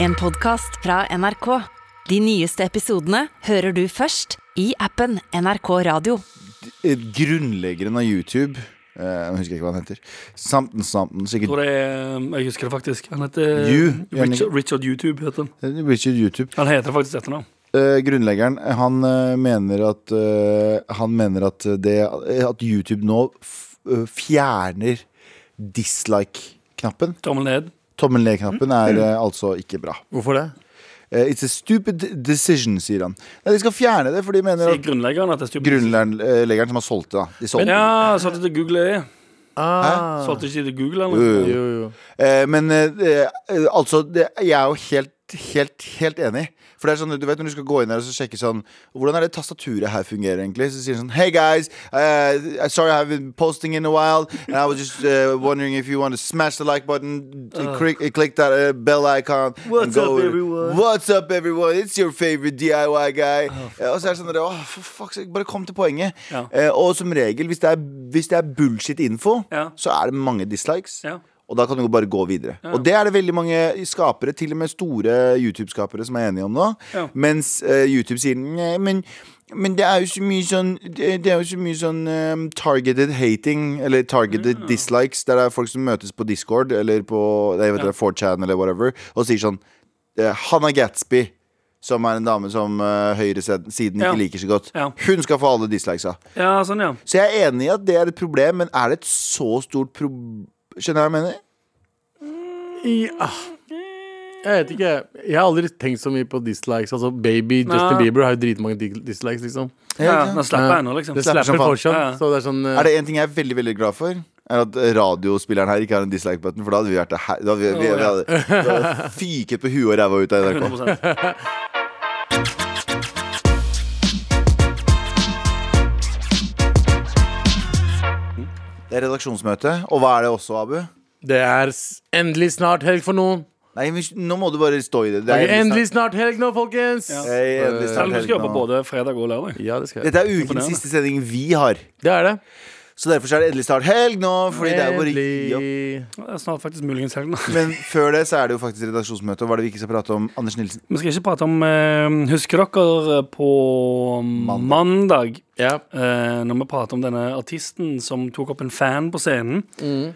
En podcast fra NRK. De nyeste episodene hører du først i appen NRK Radio. eh, grunnleggeren av YouTube eh, Nå husker jeg ikke hva han heter. Samten Samten, Jeg sikkert tror det er, um, jeg husker det faktisk. Han heter uh, You, Richard, Jørgen. Richard YouTube. heter Han Det blir ikke YouTube. Han heter faktisk etternavn. Eh, grunnleggeren, han eh, mener at eh, Han mener at det At YouTube nå f eh, fjerner dislike-knappen. Tommel ned. Tommel ned-knappen er eh, altså ikke bra. Hvorfor det? Eh, it's a stupid decision, sier han. Nei, de skal fjerne det, for de mener Sier at grunnleggeren at det er stupid. Grunnleggeren som har solgt det, da. De solgte Men det. ja, solgte til Google er. Ah. Solgte ikke til Google, Jo, eller? jo, jo. Jo, jo. Eh, men eh, eh, altså, det, jeg er jo helt, helt, helt enig. For det er sånn, du vet Når du skal gå inn her og så sjekke sånn Hvordan er det tastaturet her fungerer, egentlig? Så sier den sånn Hey guys, eh, I'm sorry I haven't been posting in a while. And I was just eh, wondering if you want to smash the like button, click, click that eh, bell icon and What's go up, over- everyone? Oh, What's up, everyone? It's your favorite DIY guy. Eh, og så er det sånn der, «Åh, for fuck's sake, Bare kom til poenget. Ja. Eh, og som regel, hvis det er, hvis det er bullshit info, Ja. så er det mange dislikes. Ja. Og da kan du jo bare gå videre. Og det er det veldig mange skapere, til og med store YouTube-skapere, som er enige om nå. Ja. Mens eh, YouTube sier nei, men, men det er jo så mye sånn Det det er jo så mye sånn eh, targeted hating, eller targeted Mm. dislikes, der det er folk som møtes på Discord eller på nei, jeg vet Ja. ikke, 4chan eller whatever, og sier sånn eh, Hannah Gatsby, som er en dame som eh, høyresiden siden Ja. ikke liker så godt, Ja. hun skal få alle dislikesa. ja, sånn, ja. Så jeg er enig i at det er et problem, men er det et så stort problem Skjønner jeg hva jeg mener? Ja. ah. Jeg vet ikke. Jeg har aldri tenkt så mye på dislikes. Altså, Baby Justin Nei. Bieber har jo dritmange di- dislikes, liksom. ja ikke sant? den slapper jeg nå, liksom. Det slapper som slapper faen. fortsatt. Ja, ja. Så det er sånn eh, Er det en ting jeg er veldig veldig glad for? Er at radiospilleren her ikke har en dislike-button, for da hadde vi vært det her. Da hadde vi, vi, Å, vi ja. hadde, vi hadde fyket på huet og ræva ut av NRK. 100 Det er redaksjonsmøte. Og hva er det også, Abu? Det er s- endelig snart helg for noen. Nei, men nå må du bare stå i det. Det det er endelig snart helg nå, folkens! Ja. snart- Hei, endelig Selv snart om du skal helg jobbe nå. både fredag og lørdag. Ja, det skal jeg. Dette er ukens siste sending vi har. Det er det. Så derfor så er det endelig snart helg nå. Fordi det er jo bare å gi opp. Endelig. Det er snart faktisk muligens helg nå. Men før det så er det jo faktisk redaksjonsmøte. Og hva er det vi ikke skal prate om? Anders Nilsen. Vi skal ikke prate om eh, Husker dere eh, på Mandag. mandag, Ja. eh, når vi prater om denne artisten som tok opp en fan på scenen? Eh,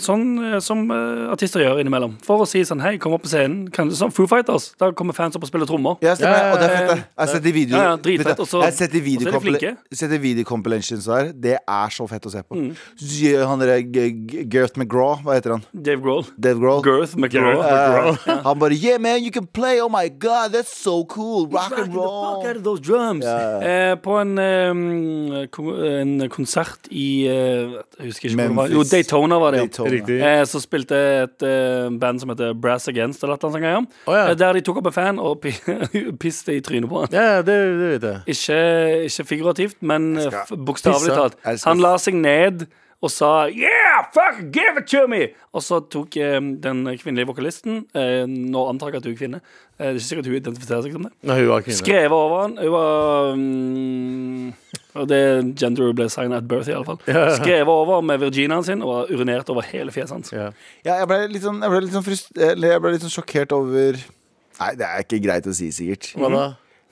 sånn eh, som eh, artister gjør innimellom. For å si sånn Hei, kom opp på scenen. Kan, som Foo Fighters. Der kommer fans opp og spiller trommer. Ja, stemmer. Ja, Og det er ja, fett, ja. det. Jeg har sett de video, Ja, ja, dritfett, vet du, og så- jeg har sett de og så er de flinke. Mm. videocompilations der. Det er så fett å se på. Så sier Han der G- G- Gareth McGraw, hva heter han? Dave Grohl. Dave Grohl. Girth McGraw. Ja, ja, ja. han bare Yeah, man, you can play. Oh my god, that's so cool. Rock and roll. Eh, på en, eh, ko- en konsert i eh, Jeg husker ikke hvor det var. Jo, Memphis. Daytona var det. ja. Daytona. Riktig. Eh, så spilte et eh, band som heter Brass Against, eller et eller annet sånt. Å, ja. Eh, Der de tok opp en fan og pi- piste i trynet på han. ja, det, det vet jeg. Ikke, ikke figurativt, men eh, f- bokstavelig pisse. talt. Jeg skal- Han la seg ned og sa 'Yeah, fuck, give it to me!' Og så tok eh, den kvinnelige vokalisten eh, Nå antar jeg at hun er kvinne. Eh, det er ikke sikkert hun identifiserer seg som det. Nei, hun var kvinne. Skrevet over han. Hun var mm, Og det gender ble signet at birth, i alle fall Skrevet over med virginaen sin og urinert over hele fjeset hans. Ja. Ja, jeg ble litt sånn, jeg ble litt sånn, frust- eller jeg ble litt sånn sjokkert over Nei, det er ikke greit å si, sikkert. Hva da?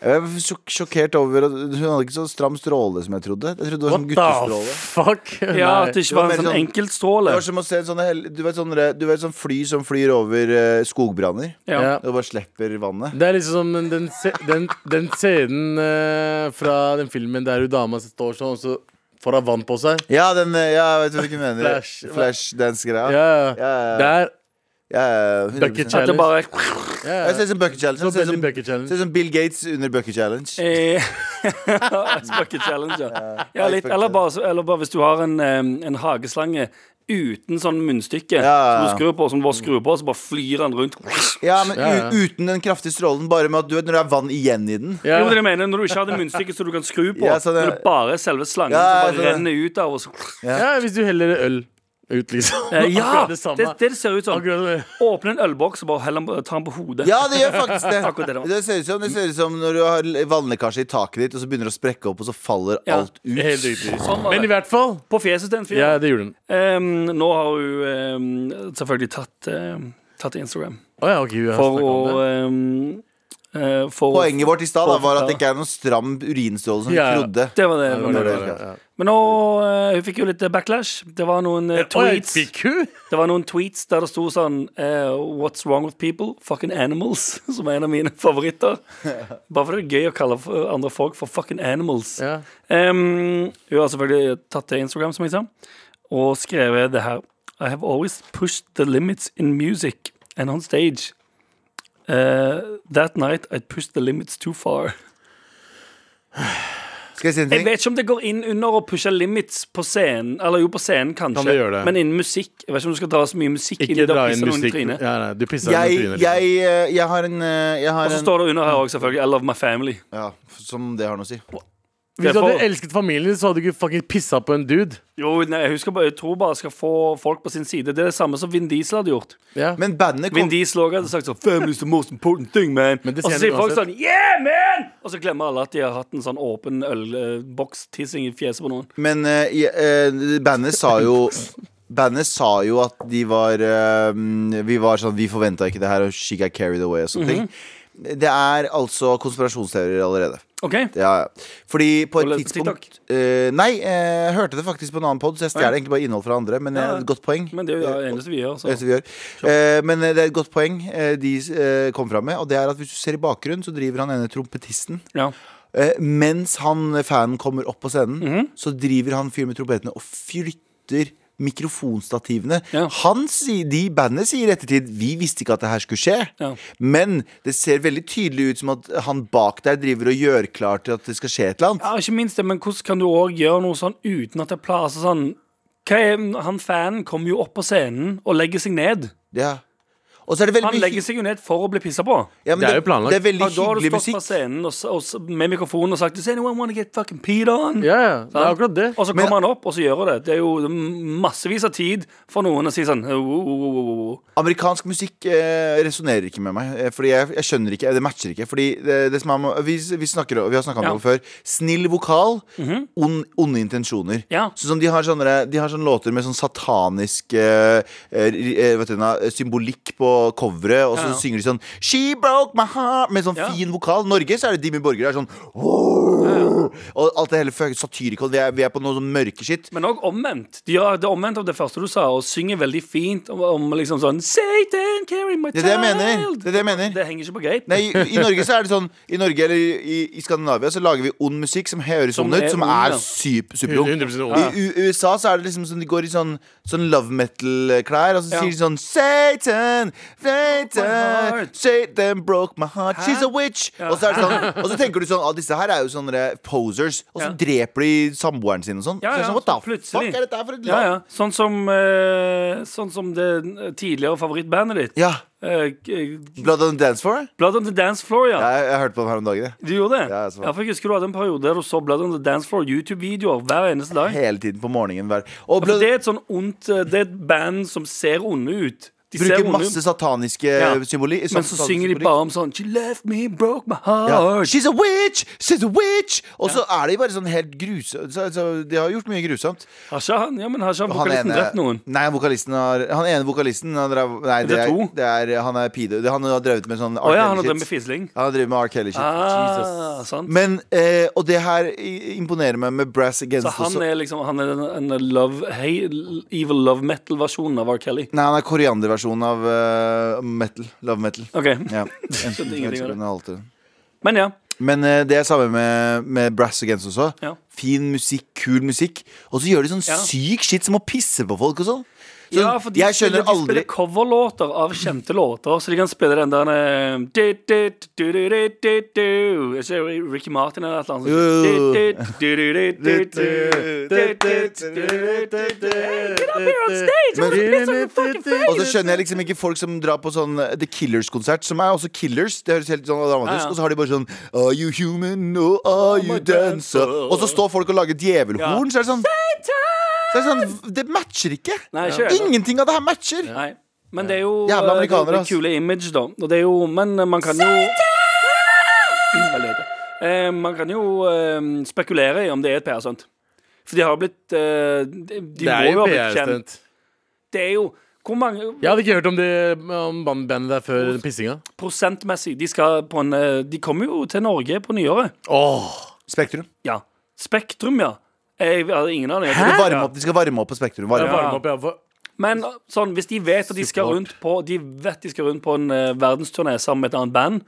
Jeg ble sjok sjokkert over at Hun hadde ikke så stram stråle som jeg trodde. Jeg trodde det var sånn What the guttestråle. fuck? Ja, Nei. at det ikke Det var var mer en sånn sånn- enkeltstråle. Det var som å se en sånn hel- du, vet, sånne, du vet sånn fly som flyr over eh, skogbranner Ja. Ja. Og bare slipper vannet Det er liksom som den, den, se- den, den scenen eh, fra den filmen der hun dama står sånn, og så får hun vann på seg. Ja, den, eh, ja jeg vet hva du ikke mener Flash. Flashdance-greia Ja, ja, ja. Der. ja, ja, 100%. Bucket At det challenge. bare Ja, Jeg ja. ser som Bucket Challenge Så Jeg ser veldig som, bucket challenge. ser som Bill Gates under Bucket Challenge eh, Ice bucket challenge, ja. ja litt, eller, bare, så- eller bare hvis du har en, eh, en hageslange uten sånn munnstykke Ja. som du skrur på, som du bare skrur på, så bare flyr den rundt. Ja, men Ja, ja. u- uten den kraftige strålen Bare med at du vet når det er vann igjen i den Ja. Jo, men jeg mener, når du ikke har det munnstykket som du kan skru på, Ja, så det- når det bare er selve slangen Ja, som så bare det- renner ut av og så ja, hvis du heller øl ut, liksom. Eh, Ja! Akkurat Det det samme. det, det ser ut som. Akkurat det. Åpne en ølboks og bare hell den, ta den på hodet. Ja, det gjør faktisk Akkurat det det det var. det ser, ut som, det ser ut som når du har vannlekkasje i taket ditt Og så begynner det å sprekke opp Og så faller Ja. alt ut Helt riktig. Sånn var Men i det. hvert fall. På fjeset til en fyr. Ja, det gjorde hun. Ehm, nå har hun ehm, selvfølgelig tatt ehm, tatt til Instagram. Å ja, ok, vi har For snakket å om det. ehm, eh, for å- Poenget vårt i stad da, var at det Ja. ikke er noen stram urinstråle som vi Ja, ja. trodde. Det var det. Ja, det men- var det, det- det var det, ja. Men nå eh, hun fikk jo litt backlash. Det var noen eh, Å, jeg tweets fikk hun? Det var noen tweets der det sto sånn eh, What's wrong with people? Fucking animals. Som er en av mine favoritter. Bare fordi det er gøy å kalle for- andre folk for fucking animals. Ja. Um, hun har selvfølgelig tatt til Instagram, som jeg sa, og skrevet det her. I have always pushed the limits in music and on stage. Eh, that night I pushed the limits too far. Skal jeg si en Jeg ting? vet ikke om det går inn under å pushe limits på scenen. Eller jo, på scenen, kanskje, Kan det gjøre det? men innen musikk. Jeg vet ikke om du skal dra så mye musikk inn Ikke i det dra og inn pisse noen i musikk. trynet. Ja, nei, du pisser Jeg, noen i trynet. jeg, eh, jeg har en, eh, jeg Og har så en står det under her også, selvfølgelig. I love my family. ja, Som det har noe å si. Hvis du Derfor- hadde elsket familien, din, så hadde du ikke fucking pissa på en dude. Jo, nei, jeg, husker bare, jeg tror bare jeg skal få folk på sin side. Det er det samme som Vin Diesel hadde gjort. Ja. Men bandet Vin kom Diesel også hadde sagt sånn Family is the most important thing, man. Men det Og så sier sier han folk uansett. sånn Yeah, man! Og så glemmer alle at de har hatt en sånn åpen ølbokstissing i fjeset på noen. Men eh, i- eh, bandet sa jo Bandet sa jo at de var eh, Vi var sånn Vi forventa ikke det her, og she got carried away og sånne Mhm. ting. Det er altså konspirasjonsteorier allerede. OK? Ja, ja. Fordi på Har du et lest på tidspunkt eh, Nei, eh, jeg hørte det faktisk på en annen pod, så jeg stjeler egentlig bare innhold fra andre. Men Ja, eh, ja. godt poeng. Men det er jo det eneste vi gjør. Det er Så. det vi gjør. Eh, men det er et godt poeng eh, de eh, kom fram med, og det er at hvis du ser i bakgrunnen, så driver han ene trompetisten. Ja. Eh, mens han eh, fanen kommer opp på scenen, Mhm. så driver han fyren med trompetene og flytter mikrofonstativene. Ja. Han sier, de i bandet sier i ettertid Vi visste ikke at det her skulle skje. Ja. Men det ser veldig tydelig ut som at han bak der driver og gjør klar til at det skal skje et eller annet. ja, ikke minst det, men hvordan kan du òg gjøre noe sånn uten at det plaser sånn Hva er, Han fanen kommer jo opp på scenen og legger seg ned. Ja. Og så er det veldig Han mye- legger seg jo ned for å bli pissa på. ja, men Det er jo planlagt. Det er veldig Ja, da har du hyggelig stått på musikk. scenen og, s- og, s- med mikrofonen og sagt Does anyone wanna get fucking peed on? Ja, ja. Det er akkurat det. Og så Men- kommer han opp, og så gjør hun det. Det er jo massevis av tid for noen å si sånn «Oh, oh, oh, oh, oh». Amerikansk musikk eh, resonnerer ikke med meg. eh, Fordi jeg, jeg skjønner ikke, det matcher ikke. Fordi det, det som er, med- vi, vi, snakker, vi har snakka om Ja. Mhm. det før. Snill vokal, ond, onde intensjoner. Ja. Sånn som de, har sånne, de har sånne låter med sånn satanisk eh, eh, eh, vet du, na, symbolikk på coveret, og så Ja, ja. synger de sånn She broke my heart med sånn Ja. fin vokal. I Norge så er det Dimmy Borger er sånn «Åh!» Og alt det hele fuck- satyrikon. Vi, er- vi er på noe sånn mørke shit. Men òg omvendt. De gjør det omvendt av det første du sa, og synger veldig fint om, om liksom sånn Satan, carry my Det child. er det jeg mener. Det er det jeg mener. Det henger ikke på greit. Nei, i, I Norge så er det sånn I Norge eller i, i Skandinavia så lager vi ond musikk som høres Som sånn ut, er som ond, er ja. syp- superung. I 100 ord. U- USA så er det liksom sånn de går i sånn, sånn love metal-klær, og så Ja. sier de sånn Satan, Satan, heart. Satan broke my heart, she's a witch. Og, så er det sånn, og så tenker du sånn ah, disse her er jo sånne posers, og så Ja. dreper de samboeren sin og sånn. Ja, så er det ja, sånn, What så the plutselig. fuck er dette her for et Ja, land? ja. Sånn som, eh, sånn som det tidligere favorittbandet ditt. Ja. Eh, k- Blood on the dance floor? Blood on the Dance Floor, ja. Jeg, jeg hørte på den her om dagen. jeg. Du gjorde det? Ja, Ja, jeg så det. for jeg husker du hadde en periode der du så Blood on the Dance Floor YouTube-videoer hver eneste dag. Hele tiden på morgenen. hver- Og For Blood, det er et sånn ondt eh, Det er et band som ser onde ut. De ser bruker onde masse ut, sataniske Ja. symboli. men så synger de bare om sånn She left me, broke my heart. She's a witch! She's a witch! Og så er de bare sånn helt grusomt så, så De har gjort mye grusomt. Har ikke han, ja, men har ikke han vokalisten drept noen? Nei, vokalisten har Han ene vokalisten han drev, Nei, det, Det er er, to. det er Han er pedo. det- Han har drevet med sånn R. Å ja, han har Kelly-shit. drevet med fisling. Han har drevet med R. Kelly-shit. Ah, sant. Men, eh, og det her i- imponerer meg med Brass Against Så han også. er liksom Han er en, en love, hey, evil love metal-versjonen av R. Kelly. Nei, han er koreanderversjonen av eh, metal. Love metal. Ok, Ja. ingenting av det. det. Men ja. Men eh, det er samme med, med Brass Against også. Ja. Fin musikk, kul musikk. Og så gjør de sånn Ja. syk shit som å pisse på folk og sånn. Så Ja, for de, jeg spiller, skjønner de aldri spiller coverlåter av kjente låter, så de kan spille den der eh, du, du, du, du, du, du, du. Er ikke det Ricky Martin eller et eller annet? sånt? Du, du, du, du, du, du, du, du, du, du, du, du. Get up here on stage! I'm gonna piss on your fucking Og så face! skjønner jeg liksom ikke folk som drar på sånn eh, The Killers-konsert, som er også Killers. Det høres helt sånn dramatisk Ja, ja. Og så har de bare sånn Are you human? No, are my you dancer? dancer. Og så står folk og lager Ja. djevelhorn. Så er det sånn så er det sånn, det matcher ikke. Nei, ikke det. Ingenting av det her matcher. Nei, men det er jo Jævla eh, det- amerikanere, det ass. kule image, da. Og det er jo, men eh, man kan jo Veldig høyt, ja. eh, Man kan jo eh, spekulere i om det er et PR-stunt. For de har blitt eh, de, de Det må er jo jo ha blitt kjent. PR-stunt. Det er jo Hvor mange Jeg hadde ikke hørt om, det, om band- bandet der før pissinga. prosentmessig De, skal på en, eh, de kommer jo til Norge på nyåret. Åh, Spektrum. Ja. Spektrum, ja. Jeg hadde ingen aning. De skal varme opp, de skal varme opp på Spektrum. Varme. jeg opp. varmer opp, jeg. for- Men sånn, hvis de vet at de skal Support. rundt på De vet de skal rundt på en eh, verdensturné sammen med et annet band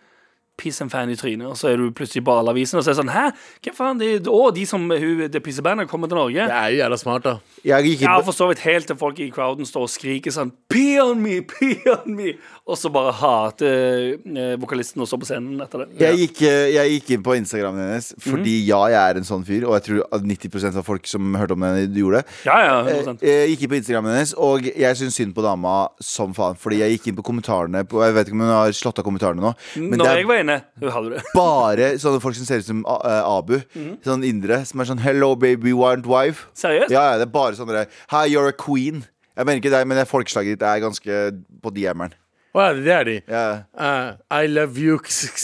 Piss en fan i trynet, og så er du plutselig på alle avisene og så er det sånn Hæ? Hvem faen? De, å, de som hun, det pissebandet kommer til Norge? Det er jo jævla smart, da. Jeg gikk Ja, inn på for så vidt helt til folk i crowden står og skriker sånn Pee on me, pee on me! Og så bare hater eh, vokalisten og står på scenen etter det. jeg gikk, eh, jeg gikk inn på Instagramen hennes fordi ja, jeg er en sånn fyr, og jeg tror at 90 av folk som hørte om henne, gjorde det. Ja, ja, Eh, 100%. Jeg gikk inn på Instagramen hennes, og jeg syns synd på dama som faen. Fordi jeg gikk inn på kommentarene på, Jeg vet ikke om hun har slått av kommentarene nå. Men Når det jeg er var inne, hun hadde det. bare sånne folk som ser ut som A- eh, Abu. Sånn indre. Som er sånn 'Hello, baby, want wife'? Seriøst? Ja, ja, det er bare sånne der 'Hi, you're a queen'. Jeg mener ikke deg, men det folkeslaget ditt er ganske på diammeren. Å ja, det er de. Ja. Eh, I love you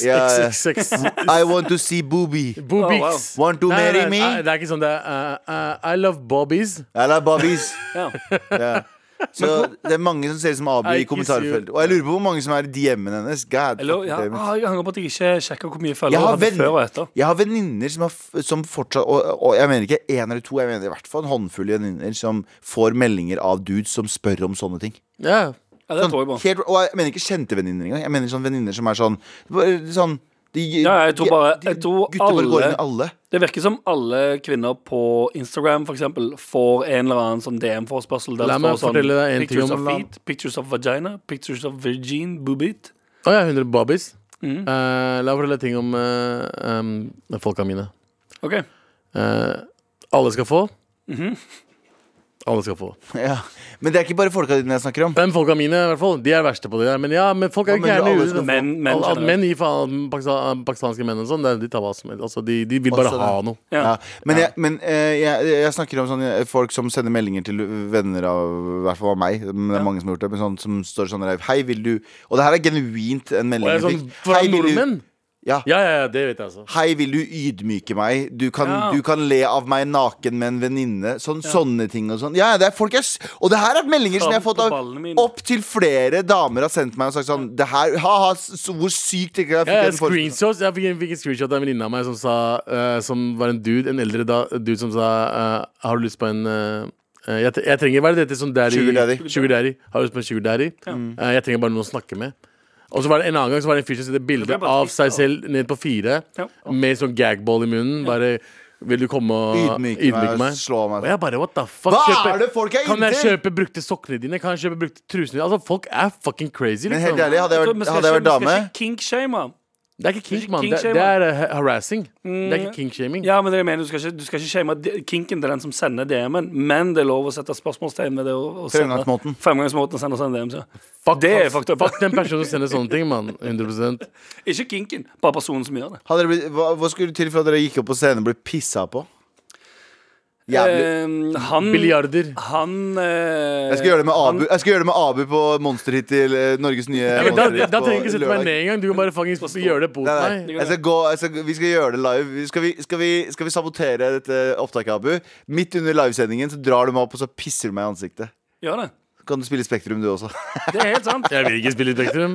Ja, ja. xxxx. I want to see booby. Boobies. Oh, wow. Want to Nei, marry nei, me? nei, Det er ikke sånn det er. eh, eh, I love bobbies. Eller bobbies. Ja. Ja. Så det er mange som ser ut som Abu i I kiss kommentarfeltet. you. Og jeg lurer på hvor mange som er i DM-en hennes. God Eller, ja. damn it. Ah, jeg angrer på at jeg ikke sjekka hvor mye Jeg følgere hun har, hadde venn, før og etter. jeg har venninner som, har f- som fortsatt og, og jeg mener ikke én eller to, jeg mener i hvert fall en håndfull venninner som får meldinger av dudes som spør om sånne ting. Ja. Ja, det Sånn, tror jeg på. helt, og jeg mener ikke kjente venninner engang. Jeg mener sånn venninner som er sånn, bare sånn de, Ja, jeg tror bare- jeg tror Gutter bare går alle- inn i alle. Det virker som alle kvinner på Instagram for eksempel, får en eller annen sånn DM-forespørsel. Der La det meg står sånn, fortelle deg en ting pictures om- of feet, pictures of vagina, pictures of virgin boobit. Å ja, 100 bobbies. Mm. Eh, la meg fortelle deg ting om eh, em, folka mine. Ok, Eh, alle skal få. Mhm. Alle skal få. Ja. Men det er ikke bare folka dine jeg snakker om. Men folka mine, i hvert fall. De er verste på det der. Men ja, men folk Hva er jo mener du, gærne. i alle huet, skal da. få? Men menn Alle- alle generelt. menn gir faen pakistan, pakistanske menn og sånn. det er- De tar hva som helst. Altså, de, de vil bare Også det. ha noe. Ja. Ja. Men, jeg, men eh, jeg, jeg snakker om sånne folk som sender meldinger til venner av i hvert fall av meg. Men det er mange som har gjort det. Men sånn, som står sånn der Hei, vil du Og det her er genuint en Og melding jeg er jeg sånn, fikk. Fra Hei, vil du, nordmenn? ja. Ja, ja, ja, det vet jeg, altså. Hei, vil du ydmyke meg? Du kan, Ja. du kan le av meg naken med en venninne. Sånn, Sånne ting og sånn. Ja, ja, det er folk jeg, s- Og det her er meldinger som jeg har fått av Ballene mine. opptil flere damer har sendt meg og sagt sånn Det her Ha-ha, så- hvor sykt ikke jeg fikk Ja, ja, en forespørsel. screenshots. Jeg fikk en, fikk en screenshot av en venninne av meg som sa eh, Som var en dude, en eldre da, dude som sa eh, Har du lyst på en eh, eh, jeg, tre- jeg trenger bare dette som sånn daddy Sugar daddy. Mm. Sugar daddy. Har du lyst på en sugar daddy? Eh, jeg trenger bare noen å snakke med. Og så var det En annen gang så var det en fyr som sendte ble bilde bare av trist, seg da. selv ned på fire Ja. med sånn gagball i munnen. Bare Vil du komme og Ydmyke meg, slå meg. Og jeg bare What the fuck? Hva er det folk er kan jeg inntil? kjøpe brukte sokkene dine? Kan jeg kjøpe brukte trusene dine? Altså, folk er fucking crazy, Men helt liksom. ærlig, hadde jeg Jeg tror vi vært, skal hadde jeg vært ikke- vi skal dame ikke kinkshame. Det er ikke kink, Ikke mann. Det, kinkshaming. det er eh, harassing. Det er ikke kinkshaming. Ja, men det er det jeg mener, du skal ikke, du skal ikke shame de- kinken til den som sender DM-en, men det er lov å sette spørsmålstegn ved det. å- å sende- Fremgangsmåten. Fremgangsmåten å sende sånn DM. Så. Fuck, Det er ass. fucked up. Fuck den personen som sender sånne ting, mann. 100 Ikke kinken, bare personen som gjør det. Hadde dere blitt, hva, hva skulle til for at dere gikk opp på scenen og ble pissa på? Jævlig. Eh, han Milliarder. Han eh, Jeg skal gjøre det med Abu, jeg skal gjøre det med Abu på Monsterhit til eh, Norges nye Ja, men da, da Monsterhit på trenger jeg ikke sette meg lørdag. ned engang. Du kan bare fuckings gjøre det mot Nei, nei. meg. Jeg skal gå, jeg skal, vi skal gjøre det live. Skal vi, skal, vi, skal vi sabotere dette opptaket, Abu? Midt under livesendingen så drar du meg opp og så pisser du meg i ansiktet. Gjør det. Kan du spille Spektrum, du også? Det er helt sant. Jeg vil ikke spille i Spektrum.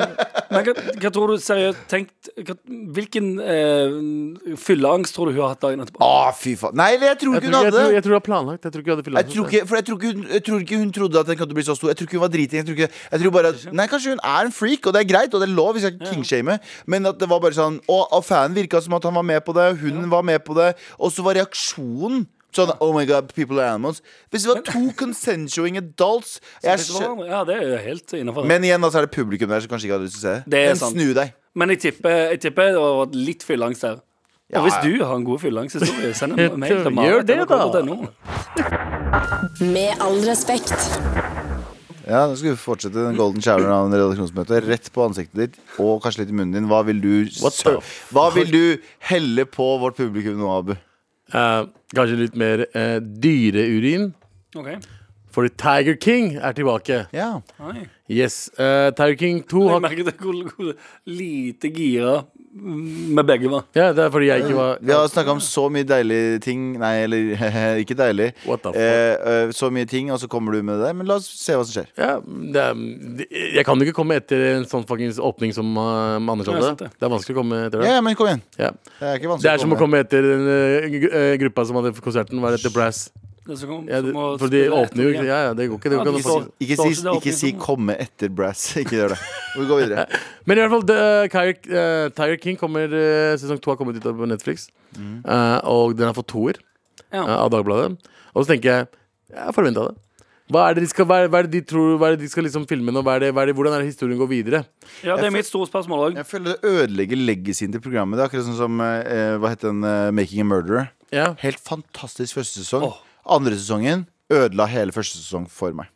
Men hva, hva tror du seriøst tenkt, hva, Hvilken eh, fylleangst tror du hun har hatt dagen etterpå? Å, Ah, fy faen. Nei, jeg tror ikke Jeg tror, hun jeg, hadde tror, det. jeg tror det var planlagt. Jeg tror ikke jeg hadde Jeg tror filmet det. ikke, for jeg tror, ikke hun, jeg tror ikke hun trodde at den kom til å bli så stor. Jeg tror ikke hun var driting. Jeg tror ikke, jeg tror bare at, nei, Kanskje hun er en freak, og det er greit, og det er lov. Hvis jeg kingshame Men at det var bare sånn Og, og fanen virka som at han var med på det, hun var med på det, og så var reaksjonen sånn Oh my god, people are animals. Hvis det var to consensuing adults jeg Vet du skjø- hva? Ja, det er jo helt innafor. Men, Men igjen, da, så er det publikum der som kanskje ikke hadde lyst til å se Det er Men sant. snu deg. jeg tipper, jeg tipper det har vært litt fylleangst der. Ja, og hvis ja. du har en god fylleangsthistorie, send en mail til Gjør det, da. marit.nrk.no. Med all respekt. Ja, Nå skal vi fortsette den golden showeren av en redaksjonsmøte. Rett på ansiktet ditt, og kanskje litt i munnen din. Hva vil du, What sø- the hva vil du helle på vårt publikum nå, Abu? Eh, kanskje litt mer eh, dyreurin. Ok. Fordi Tiger King er tilbake. Ja Nei. Yes. eh, Tiger King 2 Jeg har merket det hvor, hvor lite gira vi begge var. Ja, det er fordi jeg ikke var Mm. Vi har snakka om så mye deilige ting Nei, eller ikke deilig. What the fuck? Eh, eh, så mye ting, og så kommer du med det der. Men la oss se hva som skjer. ja, det er, det- Jeg kan jo ikke komme etter en sånn fuckings åpning som uh, Anders Nei, hadde. sant det. Det er vanskelig å komme Ja, etter det. ja, men kom igjen. Ja. Det er ikke vanskelig. Det er som å å komme komme etter den eh, gru- eh, gruppa som hadde konserten, var etter Brass. Det som kom, Ja, det, som å for de spille åpner jo etter- ikke Ja, ja, det går ikke. Det Ja, går de ikke an å står- fucking- Ikke Står si, ikke det ikke åpning si som- 'komme etter brass'. Ikke gjør det. Vi går videre. Men i hvert fall, The Kyrie, eh, Tiger King kommer eh, Sesong to har kommet ut på Netflix. Eh, og den har fått toer Ja. eh, av Dagbladet. Og så tenker jeg Jeg forventa det. Hva er det de skal, hva er, hva er det de tror, hva er det de skal liksom filme nå? Hva er det, hva er det, hvordan er det historien går videre? Ja, det er mitt store spørsmål òg. Jeg føler det ødelegger legacyen til programmet. Det er akkurat sånn som eh, hva heter den, eh, 'Making a Murderer'. Ja. Helt fantastisk første sesong. Åh. Andre sesongen ødela hele første sesong for meg.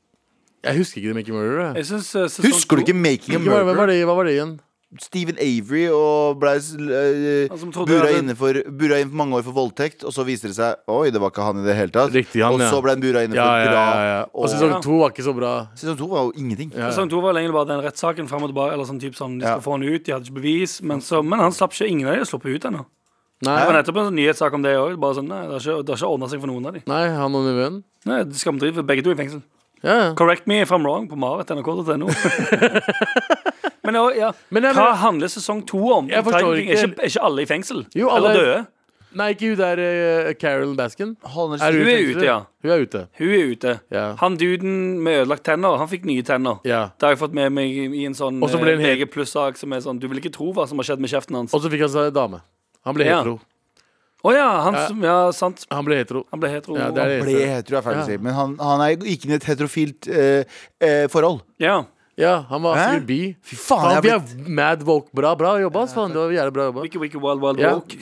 Jeg husker ikke The Making Murderer. jeg. Jeg synes, eh, sesong Husker du to- ikke 'Making a Ikke, hva, hva, Murderer'? var det, hva var det igjen? Stephen Avery og ble eh, Han som trodde bura, det hadde- inne for, bura inn for mange år for voldtekt, og så viste det seg Oi, det var ikke han i det hele tatt. Riktig, han, og ja. så ble han bura inne for Ja, ja, ja, ja. drap. Og sesong Ja. to var ikke så bra. Sesong to var jo ingenting. Ja. Sesong to var egentlig bare den rettssaken fram og tilbake. Eller sånn typ sånn, De skal Ja. få han ut, de hadde ikke bevis. Men, så, men han slapp ikke ingen av de er sluppet ut ennå. Nei, Det var nettopp en sånn nyhetssak om det òg. Sånn, nei, det har ikke, det har ikke ordna seg for noen av de nei han og nevøen. Nei, Skamdriv. Begge to i fengsel. Ja, ja. Correct me if I'm wrong på marit.nrk.no. men ja, ja. Men jeg hva mener- handler sesong to om? Jeg forstår Tiger King, Er ikke- ikke, er ikke alle i fengsel? Jo, alle- Eller døde? Nei, ikke hun der eh, Carol Baskin. Holder- Er Hun i er fengsel? ute, ja. Hun er ute. Hun er ute. Ja. Han duden med ødelagt tenner, han fikk nye tenner. Ja. Det har jeg fått med meg i en sånn Og så ble eh, det en hel- VG sak som er sånn Du vil ikke tro hva som har skjedd med kjeften hans. Å Og så fikk han seg dame. Han ble Ja. hetero. ja, han som Ja, sant. Han ble hetero. Han ble hetero. Ja, det er det. Ble hetero, er feil å Ja. si. Men han, han er, gikk inn i et heterofilt eh, eh, forhold. Ja. Ja, han var Hæ? sikkert bi. Fy faen, Faen, jeg vi har er mad woke. Bra, bra jobba. ass, faen, det var jævlig bra jobba. Wiki, wiki, wild, wild, Ja. woke.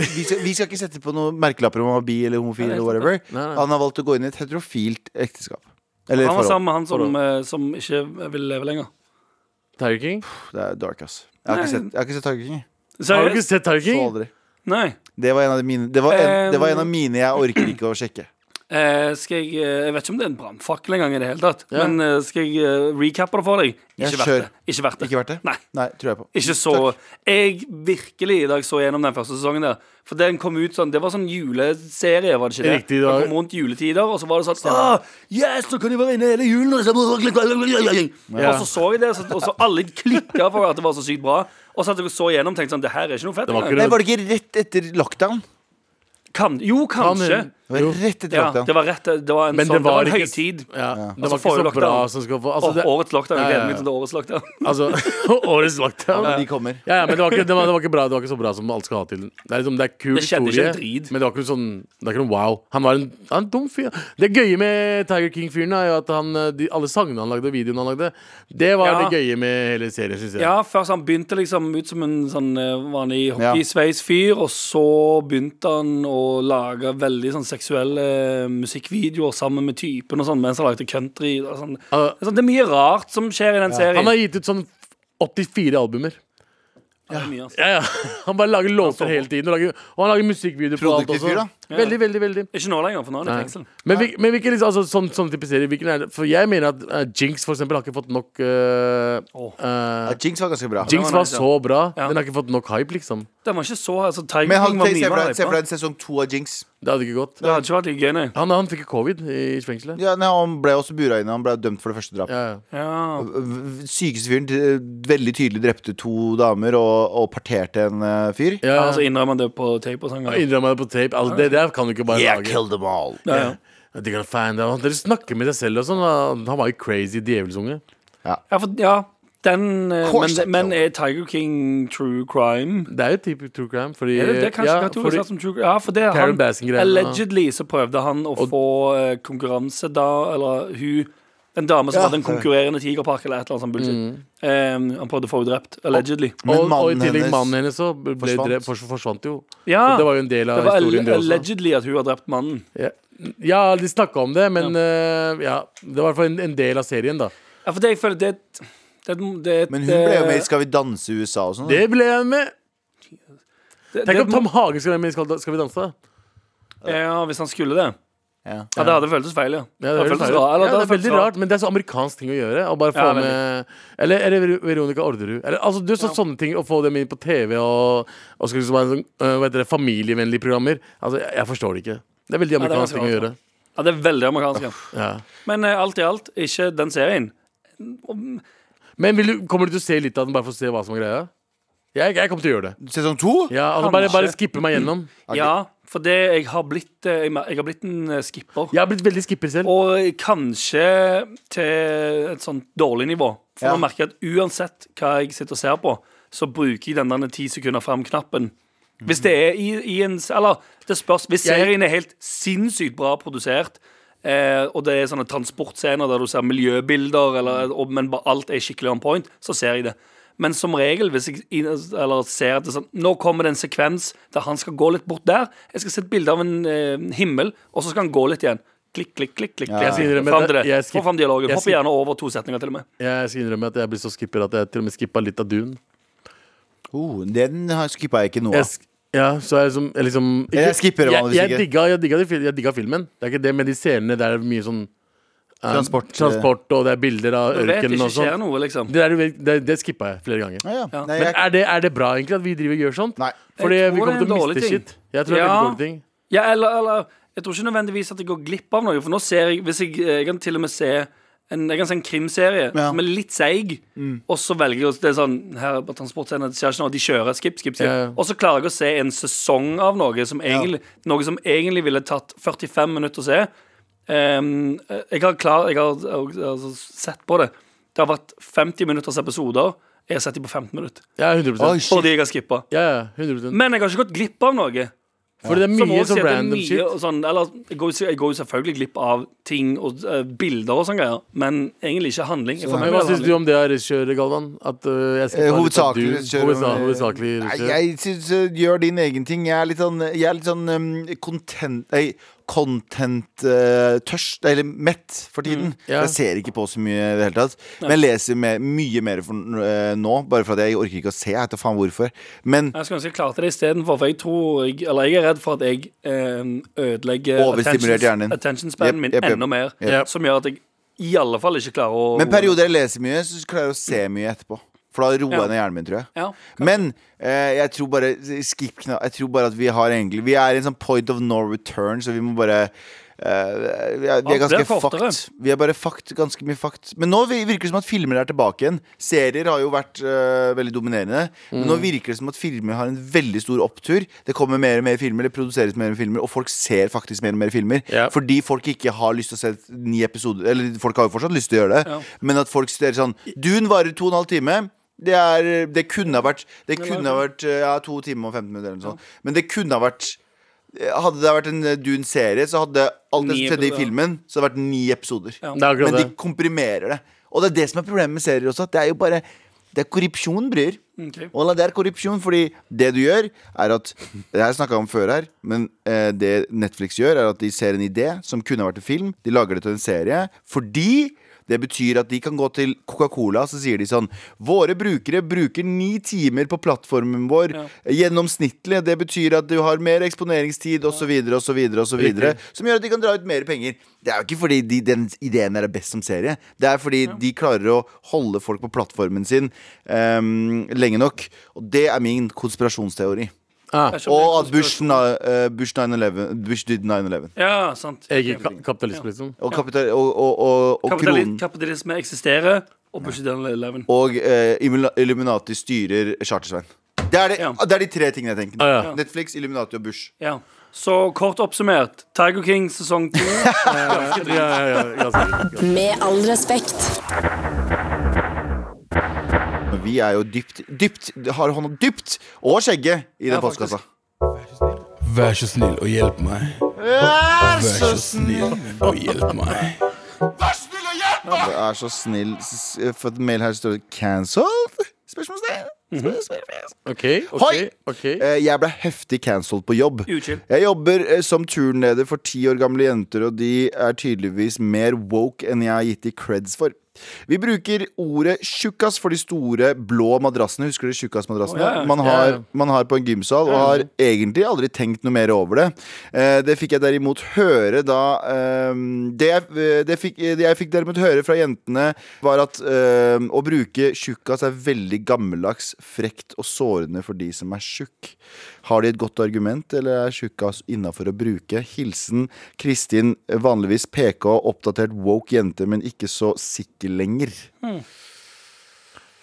Vi skal, vi skal ikke sette på noen merkelapper om han var bi eller homofil. Nei, eller whatever Nei, nei. Han har valgt å gå inn i et heterofilt ekteskap. Eller Han var forhold. sammen med han som, eh, som ikke vil leve lenger. Tiger King. Det er dark, ass. Jeg har ikke Nei. sett, jeg har ikke sett Tiger King. jeg. Har du ikke Seriøst? sett Tiger Så King? aldri. Nei. Det var en av mine Det var en, Um, det var en av mine jeg orker ikke å sjekke. Eh, skal jeg eh, Jeg vet ikke om det er en brannfakkel engang, i det hele tatt. Ja. Men eh, skal jeg eh, recappe det for deg? Ja, Ikke verdt kjør. det. Ikke verdt det. Ikke verdt det? Nei. Nei, tror jeg på. Ikke så Jeg virkelig i dag så gjennom den første sesongen der. For den kom ut sånn Det var sånn juleserie, var det ikke det? Riktig, det var- Den kom rundt juletider, og så var det sånn Åh, Yes, nå kan de være inne hele julen! Og så, og så så jeg det, og så, og så alle klikka for at det var så sykt bra. Og så at jeg så gjennom tenkte sånn Det her er ikke noe fett. Det var engang." ikke Nei, det. Var det ikke rett etter lockdown? Kan, jo, kanskje. Han- Det var rett etter Ja, det lockdown var rett Det var en, Men sånn, det var en ikke høytid. Ja, det Altså, var ikke så forrige bra lockdown. som skal få altså, Åh, det, årets lockdown. Jeg Ja, ja, gleder meg ja. til det årets lockdown. altså, Årets lockdown. De kommer. Ja, ja, men det var, ikke, det, var, det var ikke bra Det var ikke så bra som alt skal ha til. Det er, liksom, det er kul Det skjedde ikke historie, en drit. men det var ikke noe sånn Det er ikke noe wow. Han var en, han er en dum fyr. Det gøye med Tiger King-fyren er jo at han, eh, de, alle sangene han lagde, og videoene han lagde, det var Ja. det gøye med hele serien, syns jeg. Ja, først han begynte liksom ut som en sånn eh, vanlig hockeysveis-fyr, og så begynte han å lage veldig sånn seksuelle eh, musikkvideoer sammen med typen og sånn, mens han lagde country og sånn. Ah. Det er sånn, Det er mye rart som skjer i den serien. Han har gitt ut sånn 84 albumer. Ja, det er mye, altså. Ja, ja. Han bare lager låter hele tiden. Og, lager, og han lager musikkvideoer på alt Produktiv også. fyr, da. Veldig, veldig, veldig Ikke nå lenger, for nå er han Nei. i fengsel. Men, hvil- men hvilken liksom, altså, sånn, sånn type serie hvilken er det? For jeg mener at eh, Jinx for eksempel har ikke fått nok eh, Åh. eh, Ja, Jinx var ganske bra. Jinx var var nice, ja. så bra. Ja. Den har ikke fått nok hype, liksom. Den var ikke så altså, Tiger Men han, King var se mye for mer deg- se for hypa. deg en sesong to av Jinx. Det hadde ikke gått. Det hadde ikke vært like gøy, nei. Han, han fikk jo covid i fengselet. Ja, nei, han ble også bura inne. Han ble dømt for det første drapet. Ja, ja. Ja. V- Sykeste fyren eh, veldig tydelig drepte to damer og, og parterte en eh, fyr. ja. Ja, altså innrømmer han det på tape og sånn. Jeg Innrømmer det på tape. Altså, det der kan du ikke bare Yeah, lage. kill them all. Ja, ja. De kan fan, det. Dere snakker med deg selv og sånn. Han han var jo crazy djevelsunge. Ja, for, ja den, eh, Horse men, sex, men jo. er Tiger King true crime? Det er jo type true crime. Fordi, Er det, det er kanskje ja, fordi kategorisert som true crime? Ja, for det er Karen han Baskin-greiene. Allegedly så prøvde han å få eh, konkurranse da Eller hun En dame som Ja. hadde en konkurrerende tigerpark eller et eller annet sånt Mm. bullshit. Eh, han prøvde å få henne drept. Allegedly. Men og, og i mannen tillegg hennes mannen hennes så ble forsvant. forsvant. Drept, fors- forsvant jo. Ja, Så det var jo en del av Ah, det var historien, det også. allegedly at hun har drept mannen. Ja, ja de snakka om det, men ja. ja, det var i hvert fall en, en del av serien, da. Ja, for det jeg føler det er et det, er et- det, er et- eh, Men hun ble jo med i Skal vi danse i USA og sånn. Det ble jeg med! det- det- Tenk om Tom Hagen skulle være med i Skal, skal vi danse? Ja, hvis han skulle det. Ja. Ja, det hadde føltes feil, ja. Ja, det, hadde høres føltes rart. rart. Eller, ja, det er hadde føltes veldig rart, men det er så amerikansk ting å gjøre. Å bare få Ja, veldig. med Eller er det Ver- Veronica Orderud? Eller, altså, du, så, Sånne ting, å få dem inn på TV og, og skal liksom være sånn, øh, hva heter det, familievennlige programmer. Altså, jeg, jeg forstår det ikke. Det er veldig det er amerikansk ganske ting å rart, gjøre. Ja, det er veldig amerikansk. Ja. Ja. Men eh, alt i alt, ikke den serien. Men vil du, kommer du til å se litt av den, bare for å se hva som er greia? Jeg, jeg kommer til å gjøre det. Sesong to? Ja, altså, bare, Kanskje. bare skippe meg gjennom. Ja, for det jeg har blitt eh, Jeg mer- jeg har blitt en eh, skipper. Jeg har blitt veldig skipper selv. Og eh, kanskje til et sånt dårlig nivå. For Ja. nå merker jeg at uansett hva jeg sitter og ser på, så bruker jeg den der ti sekunder fram-knappen. Hvis det er i, i en Eller det spørs. Hvis Jeg- serien er helt sinnssykt bra produsert, eh, og det er sånne transportscener der du ser miljøbilder, eller, og, men bare alt er skikkelig on point, så ser jeg det. Men som regel, hvis jeg inn- eller ser at det er sånn, nå kommer det en sekvens der han skal gå litt bort der Jeg skal se et bilde av en eh, himmel, og så skal han gå litt igjen. Klikk, klikk, klikk. klikk, Jeg skal innrømme Fram det. til det. Jeg skip- Få fram dialogen. jeg Hopp skip- gjerne over to setninger, til og med. Jeg skal innrømme at jeg blir så skipper at jeg til og med skippa litt av Dune. Oh, den har- skippa jeg ikke nå. Jeg, av. sk- ja, så er det som Jeg, liksom, Jeg skipper det vanligvis jeg, ikke. jeg, digga, jeg, digga, de fil- jeg digga filmen. Det er ikke det, men de scenene der er mye sånn eh, Transport. transport, og det er bilder av Du vet ørkenen ikke og skjer sånn. noe, liksom. Det, der, du vet- det, det skippa jeg flere ganger. Ah, ja. Ja. Nei, Men jeg, er det, er det bra egentlig at vi driver og gjør sånt? nei. Fordi Jeg tror det vi er kommer en til å dårlig miste ting. shit. Jeg tror det er Ja. veldig dårlig ting. Ja, eller, eller Jeg tror ikke nødvendigvis at jeg går glipp av noe, for nå ser jeg Hvis jeg, jeg kan til og med se en, jeg kan se en krimserie Ja. Mm. som er litt seig, og så velger jeg å- Det er sånn her er bare transportscenen, det skjer ikke noe, de kjører. Skip, skip, skip. Ja, ja. Og så klarer jeg å se en sesong av noe som egentlig, noe som egentlig ville tatt 45 minutter å se. Ehm, jeg har, klar, jeg har altså, sett på det. Det har vært 50 minutters episoder. Jeg har sett dem på 15 minutter. Ja, 100 Oi, shit. Fordi jeg har skippa. ja, ja, 100 Men jeg har ikke gått glipp av noe. Fordi det er Som mye også sånn sier at det er random mye shit. og Sånn, eller, jeg, går, jo- jeg går jo selvfølgelig glipp av ting og eh, bilder og sånne greier, men egentlig ikke handling. Jeg får Men med Sånn. Hva meg syns du handling. om det, eh, regissør Galvan? At øh, jeg Eh, skippa litt av hovedsakelig Dune? regissør, Hovedsa- eh, Hovedsakelig Nei, regissør. jeg syns eh, gjør din egen ting. Jeg er litt sånn, jeg er litt sånn um, content, nei, content eh, tørst, eller mett, for tiden. Mm, ja. Jeg ser ikke på så mye i det hele tatt. Men jeg leser mer, mye mer for, eh, nå, bare for at jeg orker ikke å se. Jeg vet da faen hvorfor. Men Jeg skulle ønske jeg klarte det istedenfor, for jeg tror jeg, Eller jeg er redd for at jeg eh, ødelegger Overstimulert attentions- hjernen din. attention Jep, spanen min jep, jep. enda mer, Jep. som gjør at jeg i alle fall ikke klarer å Men perioder jeg leser mye, så klarer jeg å se mye etterpå. For da roer Ja. jeg ned hjernen min, tror jeg. Ja, Men eh, jeg tror bare skip kna- Jeg tror bare at vi har egentlig Vi er i en sånn point of no return, så vi må bare eh, vi, er, vi Ja, er ganske det er kortere. fucked. Vi er bare fucked, ganske mye fucked. Men nå vi- virker det som at filmer er tilbake igjen. Serier har jo vært eh, veldig dominerende. Men nå virker det som at filmer har en veldig stor opptur. Det kommer mer og mer filmer, det produseres mer og mer filmer, og folk ser faktisk mer og mer filmer. Ja. Fordi folk ikke har lyst til å se ni episoder Eller folk har jo fortsatt lyst til å gjøre det, Ja. men at folk studerer sånn Dune varer to og en halv time. Det, er, det kunne ha vært Det kunne ha vært eh, ja, to timer og 15 minutter eller noe sånt. Men det kunne ha vært Hadde det vært en eh, Dune-serie, så hadde alt det Ni som skjedde i episoder. filmen, så hadde det vært ni episoder. Ja. Det er akkurat Men de det. komprimerer det. Og det er det som er problemet med serier også. at Det er jo bare Det er korrupsjon, bror. ok. Ola, det er korrupsjon, fordi det du gjør, er at Det har jeg snakka om før her, men eh, det Netflix gjør, er at de ser en idé som kunne vært en film. De lager det til en serie fordi det betyr at de kan gå til Coca-Cola så sier de sånn Våre brukere bruker ni timer på plattformen vår gjennomsnittlig. Det betyr at du har mer eksponeringstid osv. osv. Som gjør at de kan dra ut mer penger. Det er jo ikke fordi de, den ideen her er best som serie. Det er fordi de klarer å holde folk på plattformen sin ehm, lenge nok. Og det er min konspirasjonsteori. Ah, Jeg skjønner Og ikke at Bush, na- eh, Bush, 9/11 Bush did 9-11. Ja, sant. jeg er ka- kapitalist, liksom. Og, kapital, og, og, og, og Kapitali kronen. kapitalisme eksisterer, og Bush Dylan Eleven. Og eh, Immula- Illuminati styrer Chartersveien. Det er, det, Ja. det er de tre tingene jeg tenker. Ah, ja. Netflix, Illuminati og Bush. Ja. Så kort oppsummert, Tiger King sesong to. Eh, Ja, ja, ja, ganske. Med all respekt. Men Vi er jo dypt, dypt, har hånda dypt, og skjegget, i den Ja, faktisk. postkassa. Vær så snill og hjelp meg. Vær så snill og hjelp meg. Det er så snill. S- s- For et mail her står det 'cancelled'? Spørsmålstegn. Mhm. Spørsmålstegn. OK, Hoi! OK. ok Eh, Jeg ble heftig cancelled på jobb. Uchill. Jeg jobber eh, som turnleder for ti år gamle jenter, og de er tydeligvis mer woke enn jeg har gitt de creds for. Vi bruker ordet tjukkas for de store blå madrassene. Husker dere tjukkasmadrassene? Å, ja, ja. man, Ja, ja. har- man har på en gymsal, og har egentlig aldri tenkt noe mer over det. Eh, det fikk jeg derimot høre da eh, det, jeg- eh, det, fikk, det jeg fikk derimot høre fra jentene, var at eh, å bruke tjukkas er veldig gammeldags, frekt og sårende for de som er tjukk. Har de et godt argument, eller er tjukkas innafor å bruke? Hilsen Kristin, eh, vanligvis PK, oppdatert woke jente, men ikke så sikker lenger.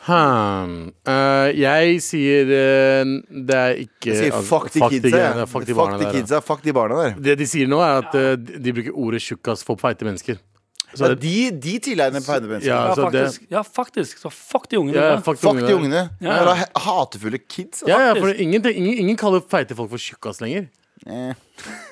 Hmm. Eh, jeg sier eh, det er ikke Jeg sier altså, fuck de kidsa. greiene, jeg. fuck de Fuck de barna der, ja. kidsa, fuck de barna der. Det de sier nå, er at eh, de de bruker ordet tjukkas for feite mennesker. Så Ja, er det- de, de tilegner peinebensin. Ja, Ja, så det- faktisk. Ja, faktisk. Så fuck de ungene. ja, der. fuck de Fuck de ungene. ungene. Ja. Ja. da, hatefulle kids. altså. Ja, ja, for ingen, ingen, ingen kaller feite folk for tjukkas lenger. Eh,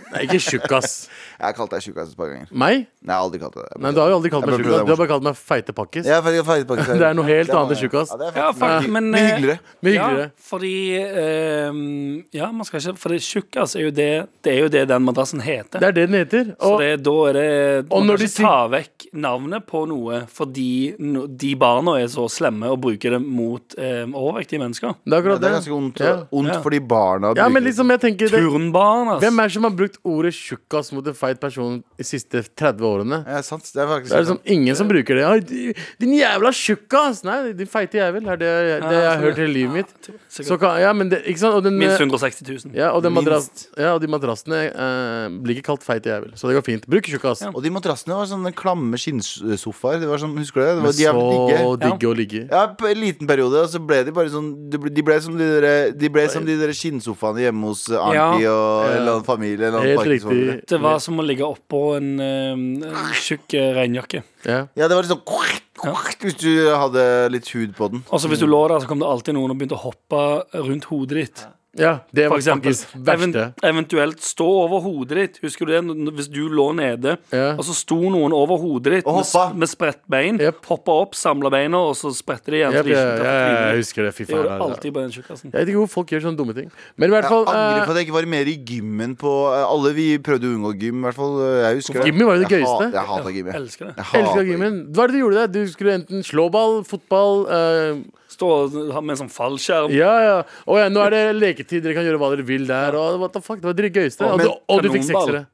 Nei, ikke tjukkas. Jeg har kalt deg tjukkas et par ganger. Meg? Nei, jeg har aldri kalt deg det. Nei, du har jo aldri kalt meg Jeg prøver å tjukkas. være Du har bare kalt meg feitepakkis. Jeg er faktisk- faktisk- faktisk- Det er noe helt var- annet enn tjukkas. Ja, det er Ja, faktisk- fuck, men, eh, Mye hyggeligere. Mye hyggeligere. Ja, fordi ehm, Ja, man skal ikke For det tjukkas er jo det Det er jo det den madrassen heter. Det er det den heter. så Og det, da er det Og Man når kan de ikke ta vekk navnet på noe fordi no, de barna er så slemme og bruker det mot ehm, overvektige mennesker. det Ja, er det akkurat det. er ganske ondt, Ja. ondt for de barna. å Ja, men bruke. liksom, jeg tenker det, Turnbarn, altså. ass. Hvem er det som har brukt ordet tjukkas mot en feit person de siste 30 årene? ja, sant. Det er faktisk Det er liksom ingen som bruker det. «Oi, di- Din jævla tjukkas! Nei, din feite jævel. er Det, det jeg har hørt hele livet mitt. Så Sikkert kan, ja, men det, ikke sant? Og den, Minst 160 000. ja, og, den madras, ja, og de madrassene eh, blir ikke kalt feite jævel, så det går fint. Bruk tjukkas. Ja. Og de madrassene var sånne klamme skinnsofaer. Det var sånn, husker du det? det Men var, de er digge. så digge. digge å ligge i. Ja, på en liten periode, og så ble de bare sånn De ble, de ble som de der, de ble som de der skinnsofaene hjemme hos eh, Arnti Ja. og en eller annen familie. En eller annen Helt riktig. parkinsforeldre. Det var som å ligge oppå en ehm, en tjukk eh, regnjakke. Ja. Ja, det var litt sånn Hvis du hadde litt hud på den. Og så Altså, Mm. hvis du lå der, så kom det alltid noen og begynte å hoppe rundt hodet ditt. ja, det For var eksempel. faktisk verste. Even, eventuelt stå over hodet ditt. Husker du det? N- Hvis du lå nede, Ja. og så sto noen over hodet ditt Og med, hoppa. s- med spredt bein. Jep. Hoppa opp, samla beina, og så spredte de igjen. så Jeg, de ikke jeg, jeg, traff jeg trynet. husker det. Fy Det gjør faen. du alltid på den tjukkasen. Jeg vet ikke hvor folk gjør sånne dumme ting. Men i hvert Jeg fall angrer eh, på at jeg ikke var mer i gymmen på eh, Alle vi prøvde å unngå gym, i hvert fall. eh, Jeg husker det. Gymmen var jo det Jeg gøyeste. hat- Jeg hata gym. jeg. Elsker det. Jeg hater Elska gymmen. Hva er det du gjorde der? Du skulle enten slå ball, fotball eh, Stå og ha med en sånn fallskjerm. Ja, ja. Å ja, nå er det leketid, dere kan gjøre hva dere vil der. Og what the fuck, Det var det gøyeste. Og, Men- du, og du fikk kanonball. seksere.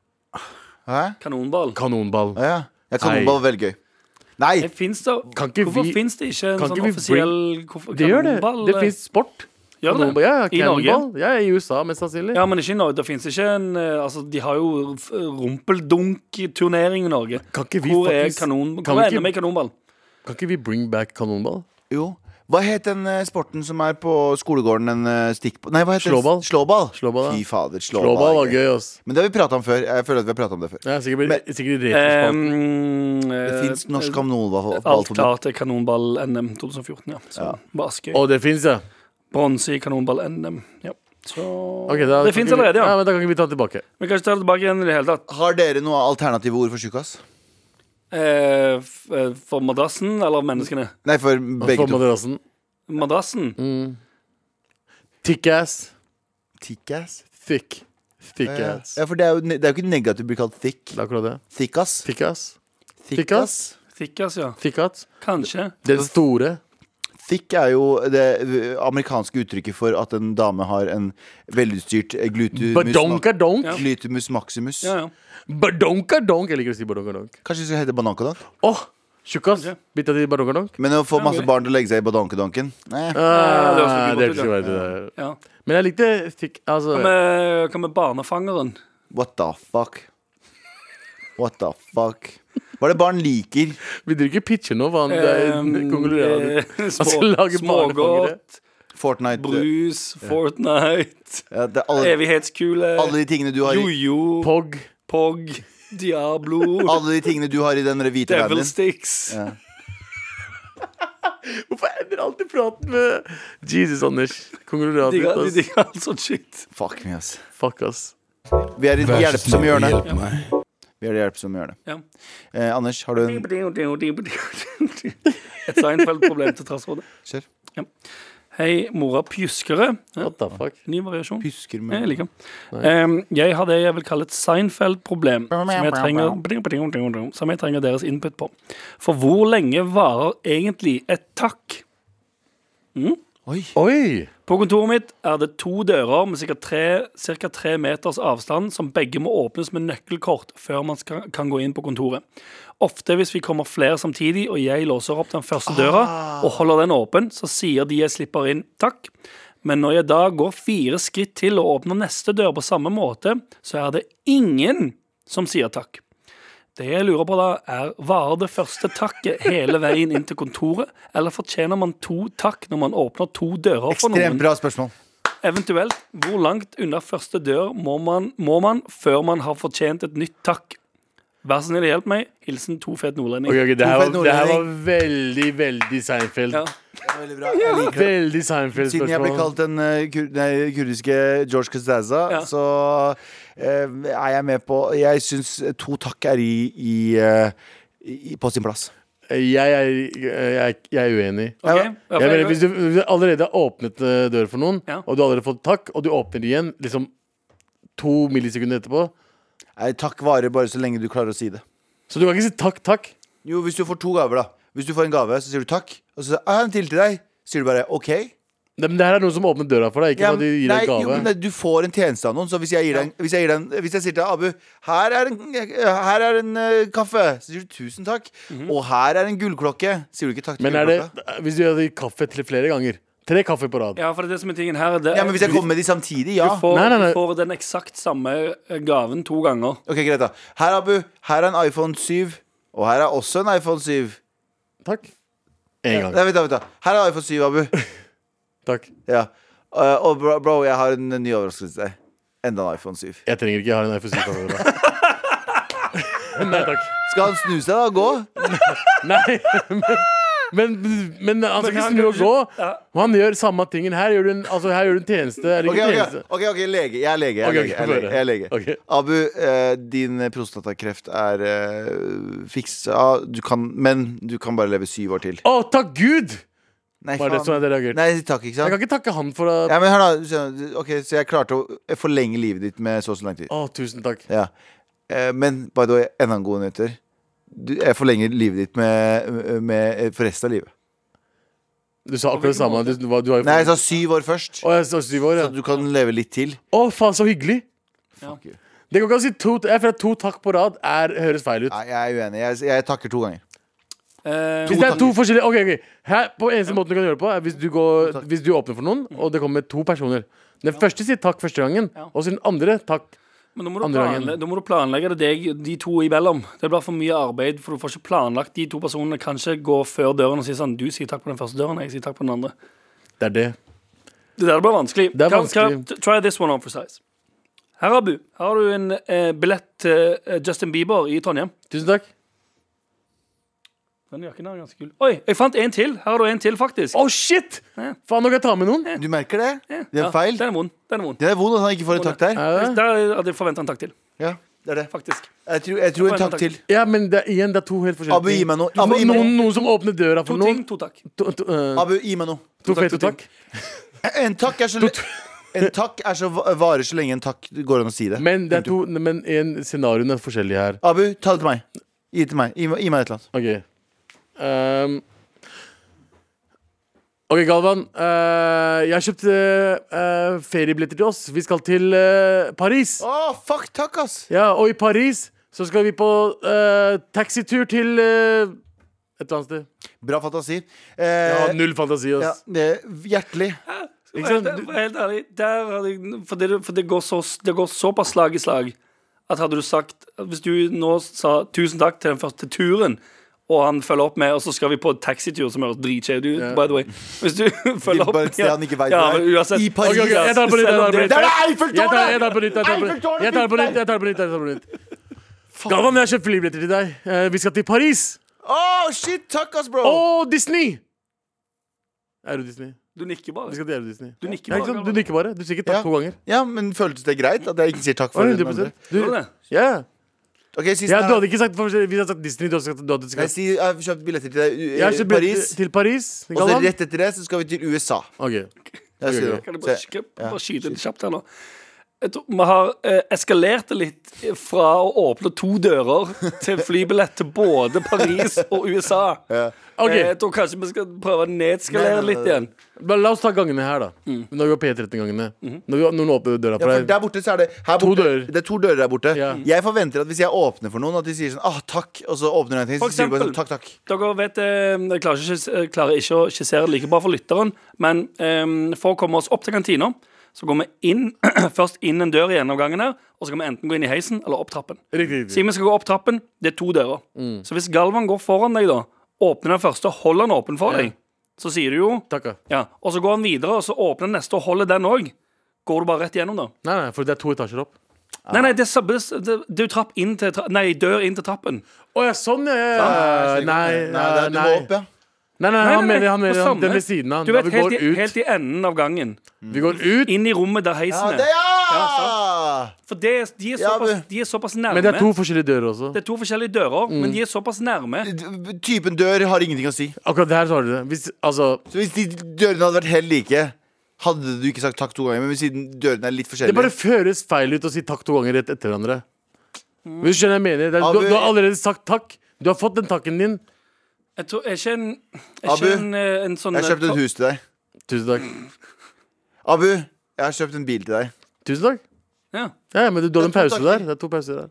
Hæ? Kanonball. Kanonball. Ja, ja. Jeg kan håndball veldig gøy. Nei! Det finnes det, Kan ikke hvorfor vi- fins det ikke en kan sånn ikke vi offisiell hvorfor- Det gjør det. kanonball? eh? Det fins sport. Gjør det? Kanonball. Ja, ja, I Norge? cannonball. Ja, i USA, mest sannsynlig. Ja, men ikke i Norge. Det fins ikke en eh, Altså, de har jo f- rumpeldunk-turnering i Norge. Kan ikke vi Hvor er faktisk- kanon... kan Hvor vi ikke- er NM i kanonball? Kan ikke vi bring back kanonball? Jo. Hva het den eh, sporten som er på skolegården en eh, stikk på Nei, hva heter Slåball. den? Slåball. Slåball, ja. Fy fader, slåball. Slåball var er gøy, ass. Men det har vi prata om før. Jeg føler at vi har pratet om det før. Ja, sikkert, Men- blir- Ehm, sikkert i retrospalten. Um, Det Eh, fins norsk Alt kanonballforbund. klart til kanonball-NM 2014, ja. Så var Askøy. Å, det fins, ja. Bronse i kanonball-NM. Ja. Så Ok, da Det kan fins ikke vi- allerede, ja. Men da kan ikke vi ta det tilbake. Vi kan ikke ta det tilbake igjen i det hele tatt. Har dere noe alternative ord for tjukkas? Eh, f- eh, for madrassen eller menneskene? Nei, for begge Få to. madrassen. Madrassen? Mm. Tick-ass. Thick-ass. Thick. Eh, Ja, Thick-ass. for det er, jo, ne- det er jo ikke negativt å bli kalt thick. Det er akkurat det. Thick-ass. Thick-ass. Thick-ass. Thickas, ja. Thick-ass. Kanskje. Den store. Thick er jo det ø, amerikanske uttrykket for at en dame har en velutstyrt eh, gluteus, Badonka-donk. Ja. gluteus maximus. Ja, ja. Badonkadonk. Jeg liker å si badonkadonk. Kanskje det skal hete banankadonk? Åh, tjukkas. Kanskje. Bytta til badonkadonk. Men å få Ja, masse ok. barn til å legge seg i badankedonken Nei. Ja, det var Ah, så det er godt ikke ut, verdt det. ja. Men jeg likte thick altså, Hva med- Hva med barnefangeren? What the fuck? What the fuck? Hva er det barn liker? Vi driver ikke pitcher nå, faen. Det er Altså, Eh, konglomeratet. eh, Han skal små- lage barnefangere. Smågodt, Fortnite brus, Fortnite, ja, det er alle, evighetskule, alle de tingene du har i jojo, Pog. Pog, Diablo, Alle de tingene du har i den hvite Devil vanen din. Sticks. Ja. Hvorfor ender alltid praten med Jesus, Anders? Konglomeratet De ditt, de ass. digger all sånn shit. Fuck me, ass. Fuck, ass. Vi er i det Vær så hjelpsomme snill og hjørnet. hjelp meg. Vi er i det hjelpsomme hjørnet. Ja. Eh, Anders, har du en Et Seinfeld-problem til trass for det. Kjør. Ja. Hei, mora pjuskere. Ja, What the fuck? ny variasjon. Pysker Jeg med liker den. Em, jeg har det jeg vil kalle et Seinfeld-problem, som, jeg trenger- som jeg trenger deres input på. For hvor lenge varer egentlig et takk? Oi. Oi! På kontoret mitt er det to dører med ca. Tre, cirka tre meters avstand som begge må åpnes med nøkkelkort før man skal, kan gå inn på kontoret. Ofte hvis vi kommer flere samtidig og jeg låser opp den første døra og holder den åpen, så sier de jeg slipper inn takk. Men når jeg da går fire skritt til og åpner neste dør på samme måte, så er det ingen som sier takk. Det jeg lurer på da, er varer det første takket hele veien inn til kontoret, eller fortjener man to takk når man åpner to dører for Ekstremt noen? bra spørsmål. Eventuelt, hvor langt unna første dør må man, må man før man har fortjent et nytt takk? Vær så snill, hjelp meg. Hilsen to fet nordlending. Ok, ok, det, her Hvorfor er var, det her var nordlending? veldig, veldig Seinfeld. Ja. Veldig bra. Jeg liker det. Veldig Siden jeg ble Seinfeld-spørsmål. kalt den eh, kur nei, kurdiske George Costanza, Ja. så eh, er jeg med på Jeg syns to takk er i, i, eh, i på sin plass. Eh, Jeg, er- jeg, er- jeg er uenig. Ok? Ja, Ja, Jeg mener, for- hvis, du, hvis du allerede har åpnet eh, dør for noen, Ja. og du har allerede fått takk, og du åpner igjen liksom to millisekunder etterpå Nei, Eh, takk varer bare så lenge du klarer å si det. Så du kan ikke si takk, takk. Jo, hvis du får to gaver, da. Hvis du får en gave, så sier du takk. Og så sier du, jeg har en til til deg. Sier du bare OK? Nei, men det her er noen som åpner døra for deg, ikke Ja, at de gir deg nei, en jo, gave. men det- du får en tjeneste av noen, så hvis jeg, gir deg, en- hvis jeg, gir deg, en- hvis jeg sier til deg, Abu, her er en, her er en eh, kaffe, så sier du tusen takk. Og her er en gullklokke. Sier du ikke takk til Mhm. Men er det, gullklokka? hvis du hadde gitt kaffe til flere ganger Tre kaffe på rad. ja, for det er det som er tingen her. Det, Ja, men hvis jeg du, kommer med de samtidig, ja. du får, Nei, nei, nei. du får den eksakt samme eh, gaven to ganger. Ok, greit da Her, Abu, her er en iPhone 7 Og her er også en iPhone 7 Takk. En gang. Nei, vent da, vent da Her er iPhone 7, Abu Takk. Ja Eh, Og bro, bro, jeg har en ny overraskelse til deg Enda en iPhone 7 Jeg trenger ikke ha en FSU kaffe på rad. Nei takk. Skal han snu seg da og gå? Nei, men, men, men altså, han skal Men ikke han snu og kan gå. ikke- ja. Han gjør samme tingen. Her gjør du en, altså, her gjør du en tjeneste. Er det Ok, ikke en ok, tjeneste? ok, ok, lege Jeg er lege, jeg er Ok, ok, lege, jeg er få lege, høre. jeg er lege. Ok. Abu, eh, din prostatakreft er eh, fiksa du kan, Men du kan bare leve syv år til Å, takk Gud! Nei, Var det faen. sånn jeg reagerte? Nei, takk, ikke Jeg sant? kan ikke takke han for at Ja, men hør da du skjønner, Ok, så jeg klarte å forlenge livet ditt med så og så lang tid Å, tusen takk. Ja. Eh, Men by the way, enda en god nyheter. Du, jeg forlenger livet ditt med, eh, med, for resten av livet. Du sa akkurat det samme. Du, hva- du har jo Nei, jeg sa syv år først. Å, jeg sa syv år, ja. Så du kan leve litt til. Å, faen, så hyggelig. Fuck you. Det går ikke an å si to, jeg føler at to takk på rad er, høres feil ut. Nei, jeg er uenig. Jeg, jeg takker to ganger. Eh, Hvis det er to forskjellige Ok, ok Her, På eneste måten du kan gjøre det på, er hvis du, går, takk. hvis du åpner for noen, og det kommer to personer. Den første sier takk første gangen, Ja. og så den andre takk. Men da må, du Andre gangen. planle, da må du planlegge det deg, de to imellom. Det blir for mye arbeid, for du får ikke planlagt de to personene. Kanskje gå før døren og si sånn Du sier takk på den første døren, jeg sier takk på den andre. Det er det. Det der blir vanskelig. Det er Kan- kan- vanskelig. t- try this one on for size. Her, Abu, her har du en eh, billett til eh, Justin Bieber i Trondheim. Tusen takk. Den jakken er ganske kul. Oi, jeg fant en til. Her har du en til, faktisk. Å, shit! Ja. Faen, nå kan jeg ta med noen. Du merker det? Det Ja, er feil. Den er vond. Den er vond. Det er vondt at han ikke får en takk der. Er det? Der hadde jeg forventa en takk til, Ja, det er det. faktisk. Jeg tror, jeg tror en takk til. Ja, men det, er- igjen, det er to helt forskjellige Abu, gi meg noe. Du Abu, får gi meg noen, noen som åpner døra To for noen. ting, to takk. To, to, eh, Abu, gi meg noe. to takk, to fete ting. takk. En takk er så le- En takk er så va- varer så lenge en takk går an å si det. Men, det er to, men en scenarioen er forskjellig her. Abu, ta det til meg. Gi det til meg. Gi, meg- gi meg et eller annet. Ok Ehm. Ok, Galvan. eh, jeg har kjøpt eh, eh, feriebilletter til oss. Vi skal til eh, Paris. Å, fuck takk, ass! Ja, Og i Paris så skal vi på eh, taxitur til eh, et eller annet sted. Bra fantasi. Jeg Eh, har null fantasi. ja, ass det- hjertelig. Helt, sant? helt ærlig, der hadde jeg For, det, for det, går så, det går såpass slag i slag at hadde du sagt Hvis du nå sa tusen takk til den første turen, og han følger opp med Og så skal vi på taxitur, som høres dritkjedelig ut, by the way. Hvis du følger opp bare et sted han ikke vet ja, hvor er. men uansett, I Paris. Ok, ok, jeg tar det på nytt. jeg tar det på nytt. Der er Eiffeltårnet! Jeg tar- jeg tar det på nytt, jeg tar det på nytt. Jeg tar det på nytt. jeg tar det på nytt, jeg tar det på nytt Galvan, jeg har kjøpt flybilletter til deg. Eh, Vi skal til Paris. Åh, shit, takk ass, bro! Og Disney! Euro Disney. Du nikker Vi bare. skal til Euro Disney. Du nikker Ja, ikke bare. sant? Du nikker bare. Du sier ikke Ja. takk to ganger. Ja, men føltes det greit at jeg ikke sier takk Å, for den 100 andre? du, Gjør du det? ja. Ok, sist Ja, du her- hadde ikke sagt, for hvis jeg hadde sagt Disney, du hadde sagt, du hadde Nei, sagt si, Jeg har kjøpt billetter til deg Jeg har i kjøpt Paris. billett til Paris. Og så Galvan. rett etter det så skal vi til USA. Ok. Jeg sier det. Kan jeg bare, Se. sk- Ja, bare skyte litt kjapt her nå? Jeg tror vi har eh, eskalert det litt fra å åpne to dører til flybillett til både Paris og USA. Ok. Eh, Jeg tror kanskje vi skal prøve å nedskalere Nei, nei, litt nei. igjen. Bare La oss ta gangene her, da. Når vi var P13-gangene. Når vi- når noen åpner Ja, døra for for deg. der borte så er det her To borte, dører. Det er to dører der borte. Ja. Jeg forventer at hvis jeg åpner for noen, at de sier sånn ah, takk, og så åpner jeg en ting. For Så sier de bare sånn, eksempel. takk, takk. Dere vet, eh, jeg klarer ikke, jeg klarer ikke å skissere det like bra for lytteren, men eh, for å komme oss opp til kantina, så går vi inn, først inn en dør i en av gangene, og så kan vi enten gå inn i heisen eller opp trappen. Riktig, riktig. Simen skal gå opp trappen, det er to dører. Mm. Så hvis Galvan går foran deg, da, åpner den første, holder den åpen for Ja. deg, så sier du jo Takk, ja. ja, Og så går han videre, og så åpner den neste og holder den òg. Går du bare rett gjennom, da? Nei, nei, for det er to etasjer opp. Nei, nei, det er, sab- det, det er jo trapp inn til tra Nei, dør inn til trappen. Å ja, sånn, ja, ja. ja. jeg skjønner. Nei, Nei, det nei, er, du må nei. opp, ja. Nei, nei, Nei, han nei, mener, han på mener han, samme. den ved siden av. Du Da vet, vi helt går i, ut. helt i enden av gangen. Vi går ut, Inn i rommet der Ja, heisen det, er. ja! For det, er- de, er Ja, såpass, men- de er såpass nærme. men det er to Mm. forskjellige dører også. Det er to forskjellige dører, men de er såpass nærme. D- Typen dør har ingenting å si. Akkurat der tar du det. Hvis, altså, Så hvis de dørene hadde vært helt like, hadde du ikke sagt takk to ganger. Men siden dørene er litt det bare forskjellige føles feil ut å si takk to ganger rett etter hverandre. Hvis du skjønner hva jeg mener. Det er, du, du har allerede sagt takk. Du har fått den takken din. Jeg tror, er ikke en, er Abu, ikke en, eh, en sånn Jeg har kjøpt et hus til deg. Tusen takk. Abu, jeg har kjøpt en bil til deg. Tusen takk. Ja. Ja, men du, du har en Det er to pause takker. der. Det er to pauser der.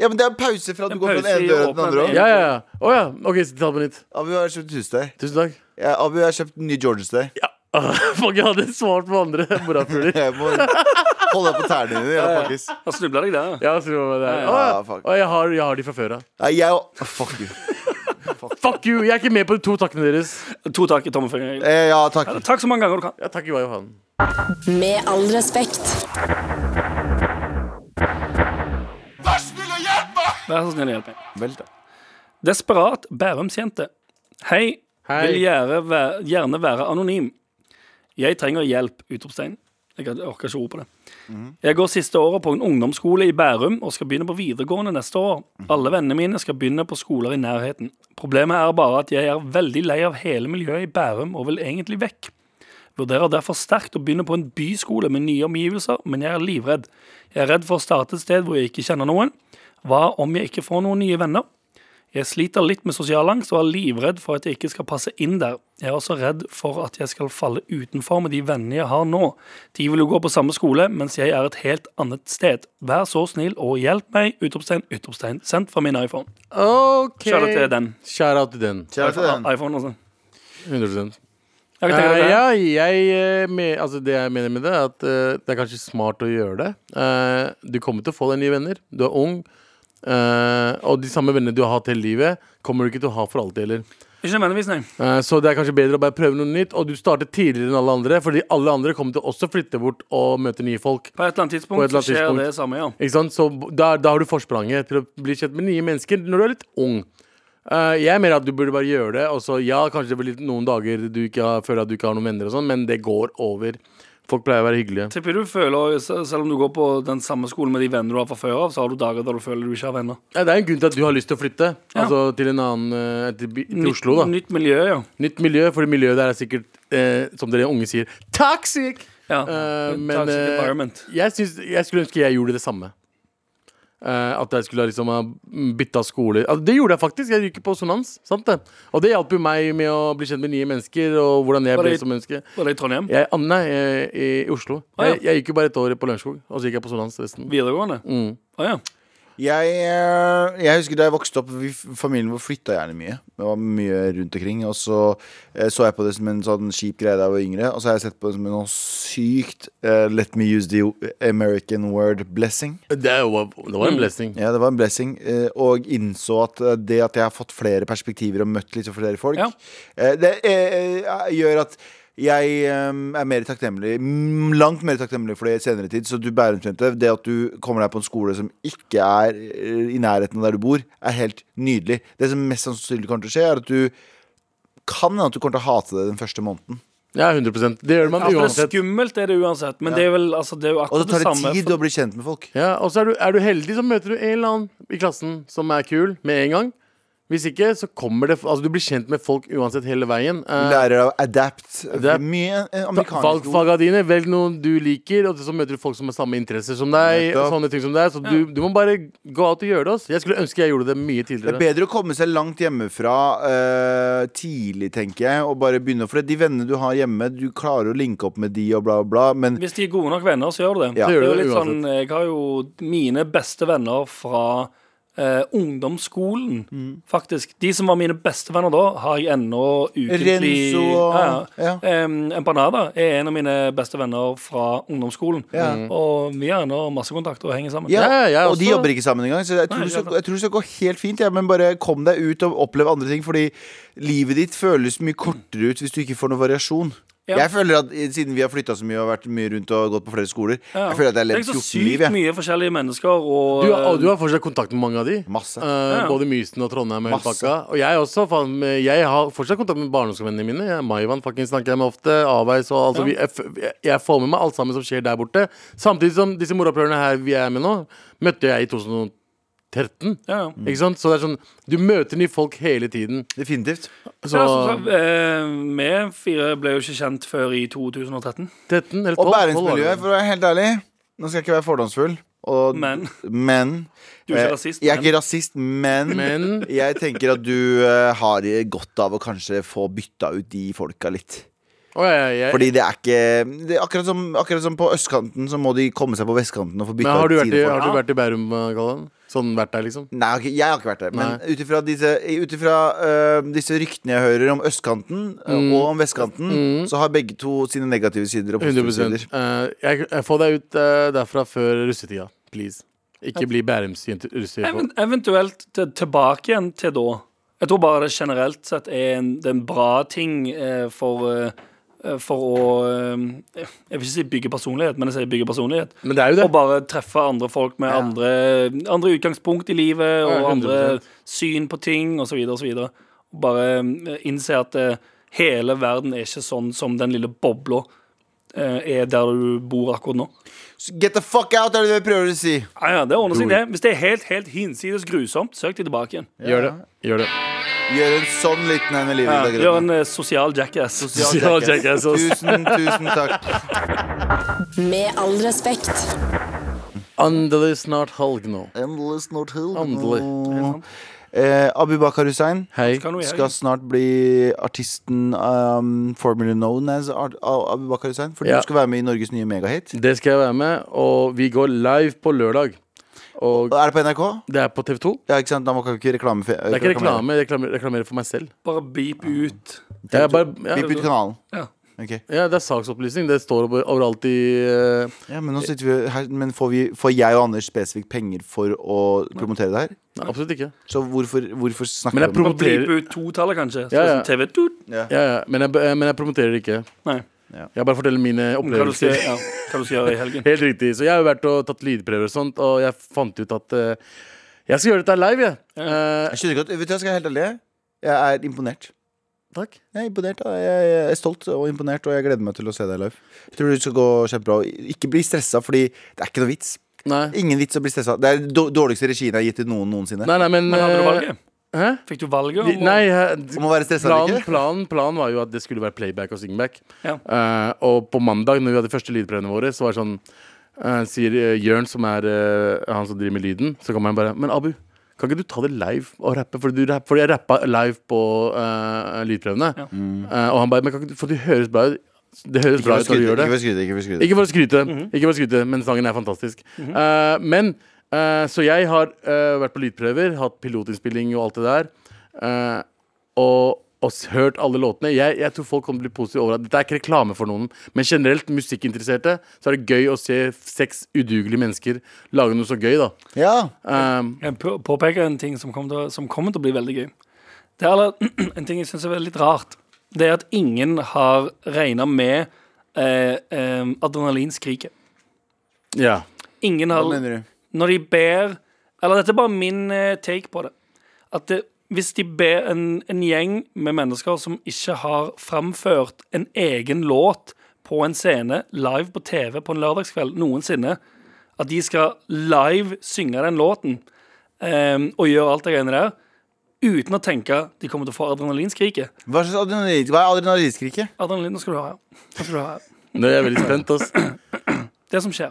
Ja, men det er en pause fra at En du går fra den pause i ene døra å til den andre. åpne også. Ja, ja, ja. Å ja. OK, så ta det på nytt. Abu, jeg har kjøpt et hus til deg. Tusen takk. Ja, Abu, jeg har kjøpt en ny Jordans til deg. Ah, Fuck, jeg hadde svart på andre morappuler. Jeg må holde deg på tærne dine. Ja, faktisk. Da snubla deg der. Ja, så var det der. Å, Ja, ja. fuck. Å, jeg, har, jeg har de fra før av. Nei, jeg og Fuck you. Fuck you! Jeg er ikke med på de to takkene deres. To tak i tommelfingeren. Eh, ja, takk. Takk så mange ganger du kan. Ja, takk, Ivar Johan. Med all respekt. Vær så snill å hjelpe meg. Vel, da. Desperat Bærumsjente. Hei. Hei. Vil gjerne være, gjerne være anonym. Jeg trenger hjelp! Utropstegn. Jeg orker ikke ord på det. Jeg går siste året på en ungdomsskole i Bærum og skal begynne på videregående neste år. Alle vennene mine skal begynne på skoler i nærheten. Problemet er bare at jeg er veldig lei av hele miljøet i Bærum og vil egentlig vekk. Vurderer derfor sterkt å begynne på en byskole med nye omgivelser, men jeg er livredd. Jeg er redd for å starte et sted hvor jeg ikke kjenner noen. Hva om jeg ikke får noen nye venner? Jeg sliter litt med sosial angst og er livredd for at jeg ikke skal passe inn der. Jeg er også redd for at jeg skal falle utenfor med de vennene jeg har nå. De vil jo gå på samme skole, mens jeg er et helt annet sted. Vær så snill og hjelp meg! Utropstegn, utropstegn. Sendt fra min iPhone. OK. Shout out til den. Shout out til den. Kjære til den. iPhone, altså. 100 Jeg kan tenke Eh, deg det. ja, jeg, eh, me- altså det jeg mener med det, er at eh, det er kanskje smart å gjøre det. Eh, du kommer til å få deg nye venner. Du er ung. eh, og de samme vennene du har hatt hele livet, kommer du ikke til å ha for alltid heller. Ikke nødvendigvis, nei. Eh, så det er kanskje bedre å bare prøve noe nytt. Og du starter tidligere enn alle andre, fordi alle andre kommer til å også flytte bort og møte nye folk. På et eller annet På tidspunkt et eller annet så skjer tidspunkt. det samme, ja. Ikke sant? Så b- da, da har du forspranget til å bli kjent med nye mennesker når du er litt ung. Eh, jeg mener at du burde bare gjøre det. Og så ja, kanskje det blir litt, noen dager du ikke har, føler at du ikke har noen venner, og sånn, men det går over. Folk pleier å være hyggelige. Tipper du føler, se- selv om du går på den samme skolen med de venner du har fra før av, så har du dager der du føler du ikke har venner. Ja, det er en grunn til at du har lyst til å flytte Ja. Altså til en annen eh, til, by- til Oslo. da Nytt miljø, ja. Nytt miljø, fordi miljøet der er sikkert, eh, som dere unge sier, toxic! ja. Eh, men Toxic eh, environment. jeg, syns- jeg skulle ønske jeg gjorde det samme. Eh, at jeg skulle ha liksom ha bytta skole. Altså, det gjorde jeg faktisk. Jeg gikk på sonans. Sant det? Og det hjalp jo meg med å bli kjent med nye mennesker. Og hvordan jeg Var ble det- som menneske Var det i Trondheim? jeg, ah, Nei, eh, i, i Oslo. Å, ja. jeg, jeg gikk jo bare et år på Lørenskog, og så gikk jeg på sonans resten. Videregående? Å Mm. ja. Jeg, eh, jeg husker da jeg vokste opp, vi, familien vår flytta gjerne mye. Det var mye rundt omkring. Og så eh, så jeg på det som en sånn kjip greie da jeg var yngre. Og så har jeg sett på det som en sånn sykt eh, Let me use the American word blessing. Det var, det var en blessing. Ja, det var en blessing. eh, Og innså at eh, det at jeg har fått flere perspektiver og møtt litt flere folk, Ja. eh, det eh, eh, gjør at jeg eh, er mer takknemlig mm, langt mer takknemlig for det i senere tid. Så du bærumsjente, det at du kommer deg på en skole som ikke er eh, i nærheten av der du bor, er helt nydelig. Det som mest sannsynlig kommer til å skje, er at du kan hende at du kommer til å hate det den første måneden. Ja, 100 Det gjør man Altså, det er uansett. skummelt er det uansett, men det er vel altså, det er jo Og akkurat så det tar det samme. tid å bli kjent med folk. Ja, og så er du, er du heldig, så møter du en eller annen i klassen som er kul med en gang. Hvis ikke, så kommer det Altså, du blir kjent med folk uansett hele veien. Eh, Lærer av adapt. Adapt. Mye eh, ta- amerikansk Valg ord. faga dine, velg noen du liker, og så møter du folk som har samme interesser som deg. Nettopp. Og sånne ting som deg Så du, du må bare gå out og gjøre det. Ass. Jeg skulle ønske jeg gjorde det mye Det er tidligere. bedre å komme seg langt hjemmefra eh, tidlig, tenker jeg, og bare begynne. For de vennene du har hjemme, du klarer å linke opp med de og bla, bla, bla. Men Hvis de er gode nok venner, så gjør du det. Ja. Så Det gjør er du jo det litt sånn, uansett. jeg har jo mine beste venner fra eh, ungdomsskolen, Mm. faktisk. De som var mine beste venner da, har jeg ennå ukentlig Renzo og- ja, ja. ja. Em, Empanada er en av mine beste venner fra ungdomsskolen. Ja. Og vi har ennå masse kontakt og henger sammen. Ja, Ja, ja, jeg og de også. jobber ikke sammen engang. Så jeg tror, Nei, det skal, ikke sant. jeg tror det skal gå helt fint. Ja, men bare kom deg ut og opplev andre ting. Fordi livet ditt føles mye kortere ut hvis du ikke får noe variasjon. Ja. Jeg føler at eh, Siden vi har flytta så mye og vært mye rundt og gått på flere skoler, Ja. jeg føler at jeg har Det er levd så 14 sykt liv. Jeg. mye forskjellige mennesker og, Du, og du har fortsatt kontakt med mange av de. Masse. Eh, Ja. Både Mysen og Trondheim. Og, hele Masse. pakka. og jeg også. Faen, jeg har fortsatt kontakt med barndomsvennene mine. Jeg, Maivan fucking snakker jeg med ofte. Aveis og Ja. altså, vi, jeg, f- jeg, jeg får med meg alt sammen som skjer der borte. Samtidig som disse morapprørerne her vi er med nå, møtte jeg i 2013. ja, Mm. ja. Ikke sant? Så det er sånn, du møter nye folk hele tiden. Definitivt. Så Ja, som sagt, eh, vi fire ble jo ikke kjent før i 2013. 13 eller 12 Og 12 var det. bæringsmiljøet, for å være helt ærlig. Nå skal jeg ikke være fordomsfull. Og, Men. men- Du er ikke eh, rasist, Jeg er men- ikke rasist, men, Men- jeg tenker at du eh, har godt av å kanskje få bytta ut de folka litt. Å, ja, ja, ja. Fordi det er ikke det er akkurat, som, akkurat som på østkanten, så må de komme seg på vestkanten og få Men bytta har du, vært i, sidefolk. har du vært i Bærum, Galvan? Sånn vært der, liksom? Ah. Nei, ok, jeg har ikke vært der. Men ut ifra disse, ut ifra, øh, disse ryktene jeg hører om østkanten øh, og om vestkanten, så har begge to sine negative sider og positive 100 sider. Eh, jeg, jeg Få deg ut eh, derfra før russetida, please. Ikke bli Bærums-jente. Even, eventuelt til, tilbake igjen til da. Jeg tror bare det generelt sett er en, det er en bra ting eh, for eh, for å eh, Jeg vil ikke si bygge personlighet, men jeg sier bygge personlighet. Men det er jo det. Og bare treffe andre folk med andre, andre utgangspunkt i livet og Ja, andre 100%. syn på ting osv. osv. Bare eh, innse at eh, hele verden er ikke sånn som den lille bobla eh, er der du bor akkurat nå. Så Get the fuck out, er det det jeg prøver å si. Ja, ja, det ordner seg, det. Hvis det er helt, helt hinsides grusomt, søk de tilbake igjen. Gjør det. Gjør det. Gjør en sånn liten en i livet. Ja, i dag, gjør Grønne. en eh, sosial jackass. Sosial jackass. Tusen, tusen takk. Med all respekt. Endelig snart helg nå. Endless not hill. Endelig. Eh, Abubakar Hussein Hei. Kan du gjøre? skal snart bli artisten um, formerly known as Ar Ab- Abubakar Hussein. For Ja. du skal være med i Norges nye megahit. Det skal jeg være med, og vi går live på lørdag. Og Og Er det på NRK? det er på TV2. Ja, ikke sant? Da må kan ikke reklame Det Det er ikke reklame, jeg reklamerer, reklamerer for meg selv. Bare beep ut. Det er, bare, Vi ja, bytter kanalen. Ja. Ok. ja, det er saksopplysning. Det står over- overalt i eh, Ja, men nå sitter vi her Men får, vi, får jeg og Anders spesifikt penger for å promotere det her? Nei, absolutt ikke. Så hvorfor, hvorfor snakker Men jeg vi om det? Bare beep promoterer ut to-tallet, kanskje. Så Ja, det ja. er sånn TV tut. ja, ja, men, jeg, eh, men jeg promoterer ikke. Nei. Jeg bare forteller mine Hva du, skal, opplevelser. ja, hva du skal gjøre i helgen. Helt riktig. Så jeg har jo vært og tatt lydprøver og sånt, og jeg fant ut at eh, jeg skal gjøre dette live, jeg. Eh, Jeg skjønner ikke at Vet du, jeg skal være helt ærlig. Jeg er imponert. takk. Jeg er imponert, da. jeg, jeg er stolt og imponert, og jeg gleder meg til å se deg live. Jeg tror det skal gå kjempebra. Og Ikke bli stressa, fordi det er ikke noe vits. Nei. Ingen vits å bli stressa. Det er den dår- dårligste regien jeg har gitt til noen noensinne. Nei, nei, men, Men hadde du eh, valget? Hæ? Fikk du valget? De- om å- Nei, eh, Om å være stressa eller planen, ikke? planen, planen var jo at det skulle være playback og singback. Ja. Eh, og på mandag, når vi hadde første lydprøvene våre, så var det sånn eh, Sier eh, Jørn, som er eh, han som driver med lyden, så kommer han bare Men Abu, kan ikke du ta det live og rappe? Fordi, du rapp, fordi jeg rappa live på eh, lydprøvene. Ja. Mm. Eh, og han bare Men kan ikke du For det høres bra ut. Det høres Ikke bra for å ut når du skryte. gjør det. Ikke for å skryte, ikke for å skryte. Ikke for å skryte, Mhm. ikke for å skryte men sangen er fantastisk. Eh, men eh, Så jeg har eh, vært på lydprøver, hatt pilotinnspilling og alt det der. eh, og, og s- hørt alle låtene. Jeg, jeg tror folk kommer til å bli positive over at dette er ikke reklame for noen, men generelt musikkinteresserte, så er det gøy å se seks udugelige mennesker lage noe så gøy, da. Ja. Eh, Jeg på- påpeker en ting som kommer til, å- som kommer til å bli veldig gøy. Det er aller, en ting jeg syns er veldig litt rart. Det er at ingen har regna med eh, eh, adrenalinskriket. ja. Ingen Hva har mener du? når de ber Eller dette er bare min eh, take på det. At det, hvis de ber en, en gjeng med mennesker som ikke har framført en egen låt på en scene live på TV på en lørdagskveld noensinne, at de skal live synge den låten eh, og gjøre alt det greiene der, uten å tenke at de kommer til å få adrenalinskriket. Hva slags adrenalin, hva er adrenalinskriket? Adrenalin, nå skal du ha her. Nå skal du ha her. Nå er jeg veldig spent, ass. Det som skjer,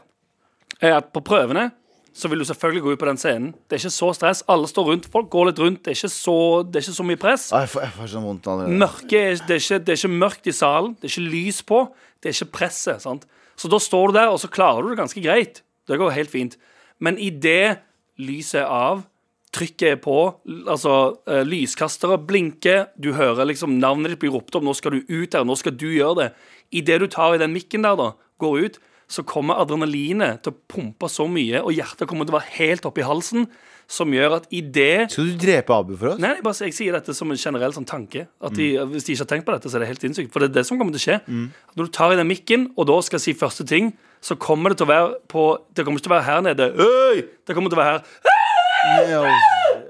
er at på prøvene så vil du selvfølgelig gå ut på den scenen. Det er ikke så stress. Alle står rundt. Folk går litt rundt. Det er ikke så, det er ikke så mye press. Ah, Jeg får, jeg får sånn vondt allerede. Mørke er, det, er ikke, det er ikke mørkt i salen. Det er ikke lys på. Det er ikke presset. sant? Så da står du der, og så klarer du det ganske greit. Det går helt fint. Men idet lyset er av, trykket er på, l- altså eh, lyskastere blinker, du hører liksom navnet ditt bli ropt opp, nå skal du ut der, nå skal du gjøre det. Idet du tar i den mikken der, da, går ut, så kommer adrenalinet til å pumpe så mye, og hjertet kommer til å være helt oppi halsen, som gjør at idet Skal du drepe Abu for oss? Nei, jeg, bare, sier- jeg sier dette som en generell sånn tanke. At de, Mm. Hvis de ikke har tenkt på dette, så er det helt sinnssykt. For det er det som kommer til å skje. At Når du tar i den mikken, og da skal si første ting, så kommer det til å være på Det kommer ikke til å være her nede. Øy! Det kommer til å være her.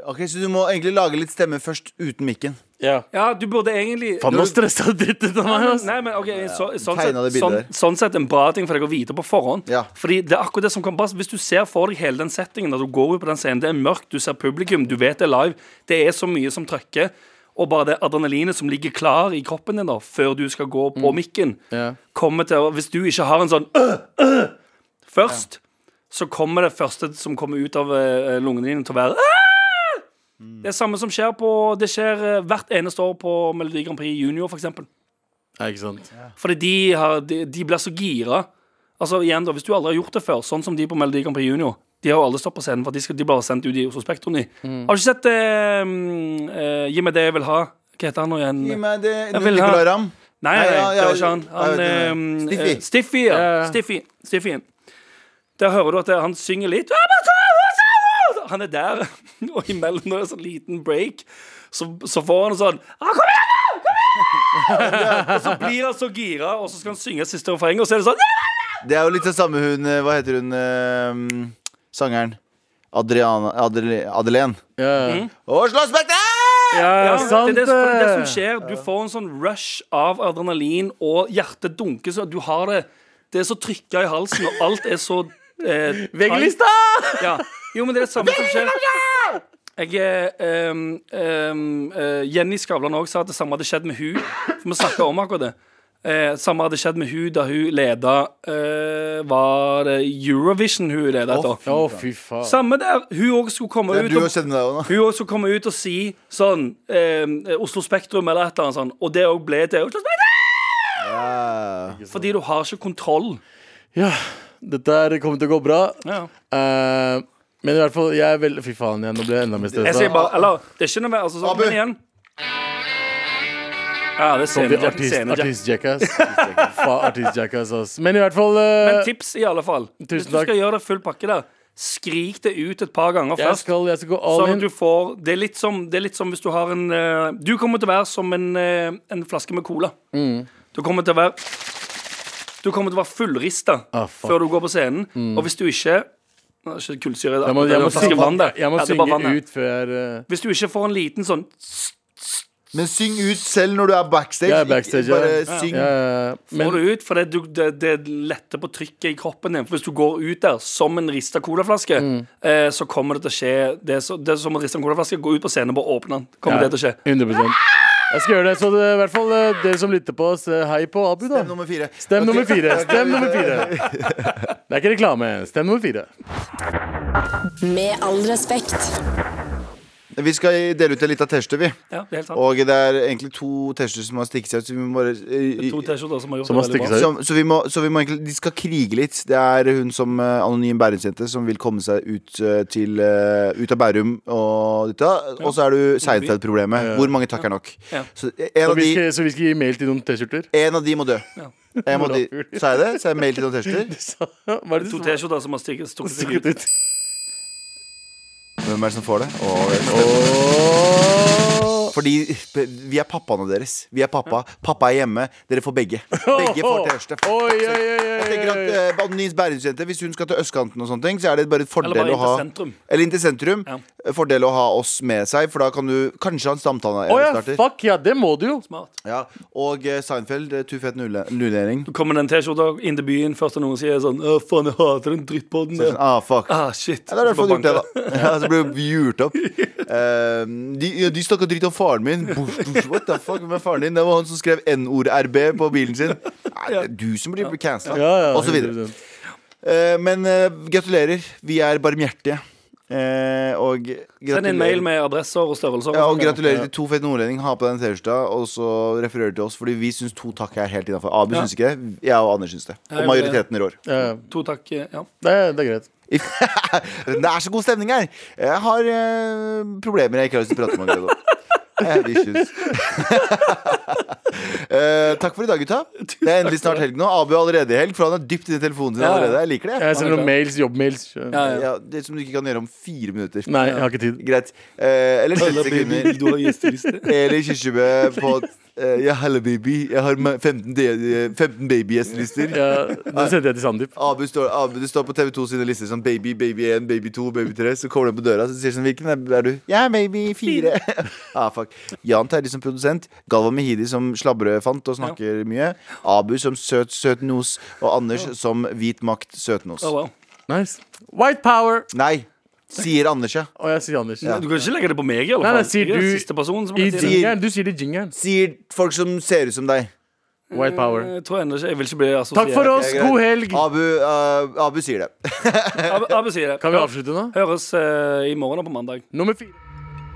Ok, Så du må egentlig lage litt stemme først, uten mikken. Ja. Ja, du burde egentlig Faen, nå stressa dritten ut av meg, ass. Nei, men ok, så, sånn, Tegna sett, det sånn, bildet der. sånn sett en bra ting for deg å vite på forhånd. Ja. Fordi det er akkurat det som kommer pass. Hvis du ser for deg hele den settingen, at du går ut på den scenen, det er mørkt, du ser publikum, du vet det er live, det er så mye som trøkker, og bare det adrenalinet som ligger klar i kroppen din da, før du skal gå på mikken, Ja. kommer til å Hvis du ikke har en sånn øh, øh, først, så kommer det første som kommer ut av eh, lungene dine, til å være «Åh!» det er samme som skjer på Det skjer eh, hvert eneste år på Melodi Grand Prix Junior, for eksempel. Ja, ikke sant. Fordi de, har, de, de blir så gira. Altså igjen da, Hvis du aldri har gjort det før, sånn som de på Melodi Grand Prix Junior De har jo aldri stått på scenen, for de, skal, de blir sendt ut i Oslo Spektrum. de. Har du ikke sett eh, mm, eh, Gi meg det jeg vil ha. Hva heter han nå igjen? Gi meg det, Jeg vil ha- Nicolay Ramm. Nei, nei, Nei, nei, ja, det ja, var ikke han. han jeg vet ehm, hvem det er. eh, Stiffy, ja. Ja, ja. Stiffy. Stiffy. Der hører du at det- han synger litt Han er der, og imellom når det er sånn liten break, så, så får han sånn «Ah, Kom igjen, nå! Kom igjen! Og så blir han så gira, og så skal han synge siste refreng, og så er det sånn Det er jo litt det samme hun eh, Hva heter hun eh, sangeren? Adriana Adele, Adelén. Ja, ja. Oslo Spektrum! ja, Mhm. Ja, sant eh?» det, er det, som- det er det som skjer. Du får en sånn rush av adrenalin, og hjertet dunker så du har det Det er så trykka i halsen, og alt er så eh, tight. VG-lista! Ja. Jo, men det er det samme som skjer. Jeg er ehm, ehm, eh, Jenny Skavlan også sa at det samme hadde skjedd med hun For vi snakket om akkurat det. Eh, samme hadde skjedd med hun da hun leda eh, Var det Eurovision hun leda etter? Å, fy faen. Samme der. Hun òg skulle komme Det er ut Du og og kjenner deg òg nå. hun også skulle komme ut og si sånn ehm, Oslo Spektrum eller et eller annet sånn, og det òg ble til Oslo Spektrum! Ja. Fordi du har ikke kontroll. Ja, dette her kommer til å gå bra. Ja. Eh, men i hvert fall, jeg er veldig Fy faen, jeg, nå ble jeg enda mer Jeg sier stressa. bare Eller, det er ikke noe altså, sånn, Abu. Men igjen. Ja, det er scenejack. Artist, scenejack. artist jackass. Faen, artist jackass, ass. Men i hvert fall eh, Men tips i alle fall. Hvis Tusen du takk. skal gjøre det full pakke der, skrik det ut et par ganger jeg, først. skal, jeg skal gå all Sånn at in. du får det er, litt som, det er litt som hvis du har en eh, Du kommer til å være som en, eh, en flaske med cola. Mm. Du kommer til å være Du kommer til å være fullrista Ah, fuck. Mm. før du går på scenen. Og hvis du ikke Nå er det ikke kullsyre i det. Jeg må, det er jeg jo må en flaske synge, vann der. jeg må Ja, det er bare vann synge her. ut før jeg er eh, Hvis du ikke får en liten sånn Men syng ut selv når du er backstage. Jeg er backstage, Ikke Bare ja. syng. ja, ja, ja. Får Men du ut, for det, du- det, det letter på trykket i kroppen din. For hvis du går ut der som en rista colaflaske, Mm. eh, så kommer det til å skje Det er, så, det er som å riste en colaflaske, gå ut på scenen og bare åpne den. Kommer Ja. det til å skje. 100 Jeg skal gjøre det. Så det, i hvert fall eh, dere som lytter på oss, eh, hei på Abu, da. Stem nummer fire. Stem Ok. nummer fire. Stem nummer fire. Det er ikke reklame. Stem nummer fire. Med all respekt. Vi skal dele ut en liten T-skjorte, vi. Ja, det er helt sant. Og det er egentlig to T-skjorter som har stikket seg ut. Så vi må bare eh, To T-skjorter som har gjort Som har det veldig stikket bra. seg som, så, vi må, så vi må egentlig De skal krige litt. Det er hun som eh, anonym bærumsjente som vil komme seg ut, eh, til, eh, ut av Bærum og dette. Og så er du Seinfeld-problemet. Hvor mange takk er nok? Ja. Så en Så av vi de, skal, så vi skal gi mail til noen T-skjorter? en av de må dø. Ja. En må de, sa jeg det? Sa jeg mail til noen T-skjorter? Så- Hva er det To du sa? T-skjorter som har stikket, stukket seg Stikket ut. ut. Hvem er det som får det? Å, Åh. Fordi vi er pappaene deres. Vi er pappa. Pappa er hjemme. Dere får begge. Begge får T-skjorte. Oi, oi, oi, oi, Jeg tenker at eh, Nils Bærumsjente, hvis hun skal til østkanten, og sånne ting så er det bare et fordel Eller bare å ha inn til sentrum. Eller inn til sentrum. Ja. Fordel å ha oss med seg, for da kan du Kanskje han stamtanna Å ja, fuck ja, det må du jo. Smart. Ja. Og eh, Seinfeld, eh, too fet nulle- nullering. Så kommer den T-skjorta inn til byen først, og noen sier sånn Å, faen, jeg hater den drittpodden Så er det der. sånn, Ah, fuck. Ah, shit. Ja, da har du Så fått gjort det, banker da. Ja, så ble du gjort opp. Eh, de ja, de snakka dritt om faren min. Buff, buff, What the fuck med faren din? Det var han som skrev N-ord-RB på bilen sin. Nei, det er du som blir cancela, Ja, ja, og så videre. 100%. Eh, men eh, gratulerer. Vi er barmhjertige. Eh, og gratulerer. Send en mail med adresser og størrelser. ja, og gratulerer til to fete nordlendinger. Ha på deg en T-skjorte, og så refererer du til oss. Fordi vi syns to takk er helt innafor. Abu Ja. syns ikke det. Jeg og Anders syns det. Ja, Og jeg gjorde det. majoriteten rår. Ja, ja. To takk, ja. Det, er- det er greit. Det er så god stemning her. Jeg har eh, problemer jeg ikke har lyst til å prate med dere om. Jeg har issues. Eh, takk for i dag, gutta. Det er endelig snart helg nå. Abu er allerede i helg, for han er dypt inni telefonen sin Ja, ja. allerede. Jeg liker det. Jeg sender noen mails, jobbmails. ja, ja. Ja, det som du ikke kan gjøre om fire minutter. Nei, jeg har ikke tid. Greit. Eh, eller 30 Halla, baby, sekunder. du har gjesteliste. Eli Kirsebø på eh, Ja, halla, baby. Jeg har ma- 15, de- 15 babygjestelister. Ja, den sendte jeg til Sandeep. Abu står, Abu, det står på TV 2 sine lister sånn baby, baby 1, baby 2, baby 3. Så kommer den på døra så sier sånn Hvilken er, er du? Jeg er baby 4. ah, fuck. Jan Terje som produsent. Galvan Mehidi som slabberød fant og snakker mye. Abu som søt, søt nos. Og Anders som hvit makt, søt nos. Å, wow. Nice. White power! Nei, sier Anders, ja. Og jeg sier Anders. Du kan ikke legge det på meg, i alle Nei, fall. nei, sier Jeg er du- siste personen som I kan si det. jingeren. Du sier det i jingeren. Sier folk som ser ut som deg. White power. Jeg tror ennå ikke Jeg vil ikke bli assosiert. Takk for oss, greit. god helg! Abu, eh, Abu sier det. Abu, Abu sier det. Kan vi avslutte nå? Høres eh, i morgen og på mandag. Nummer fire.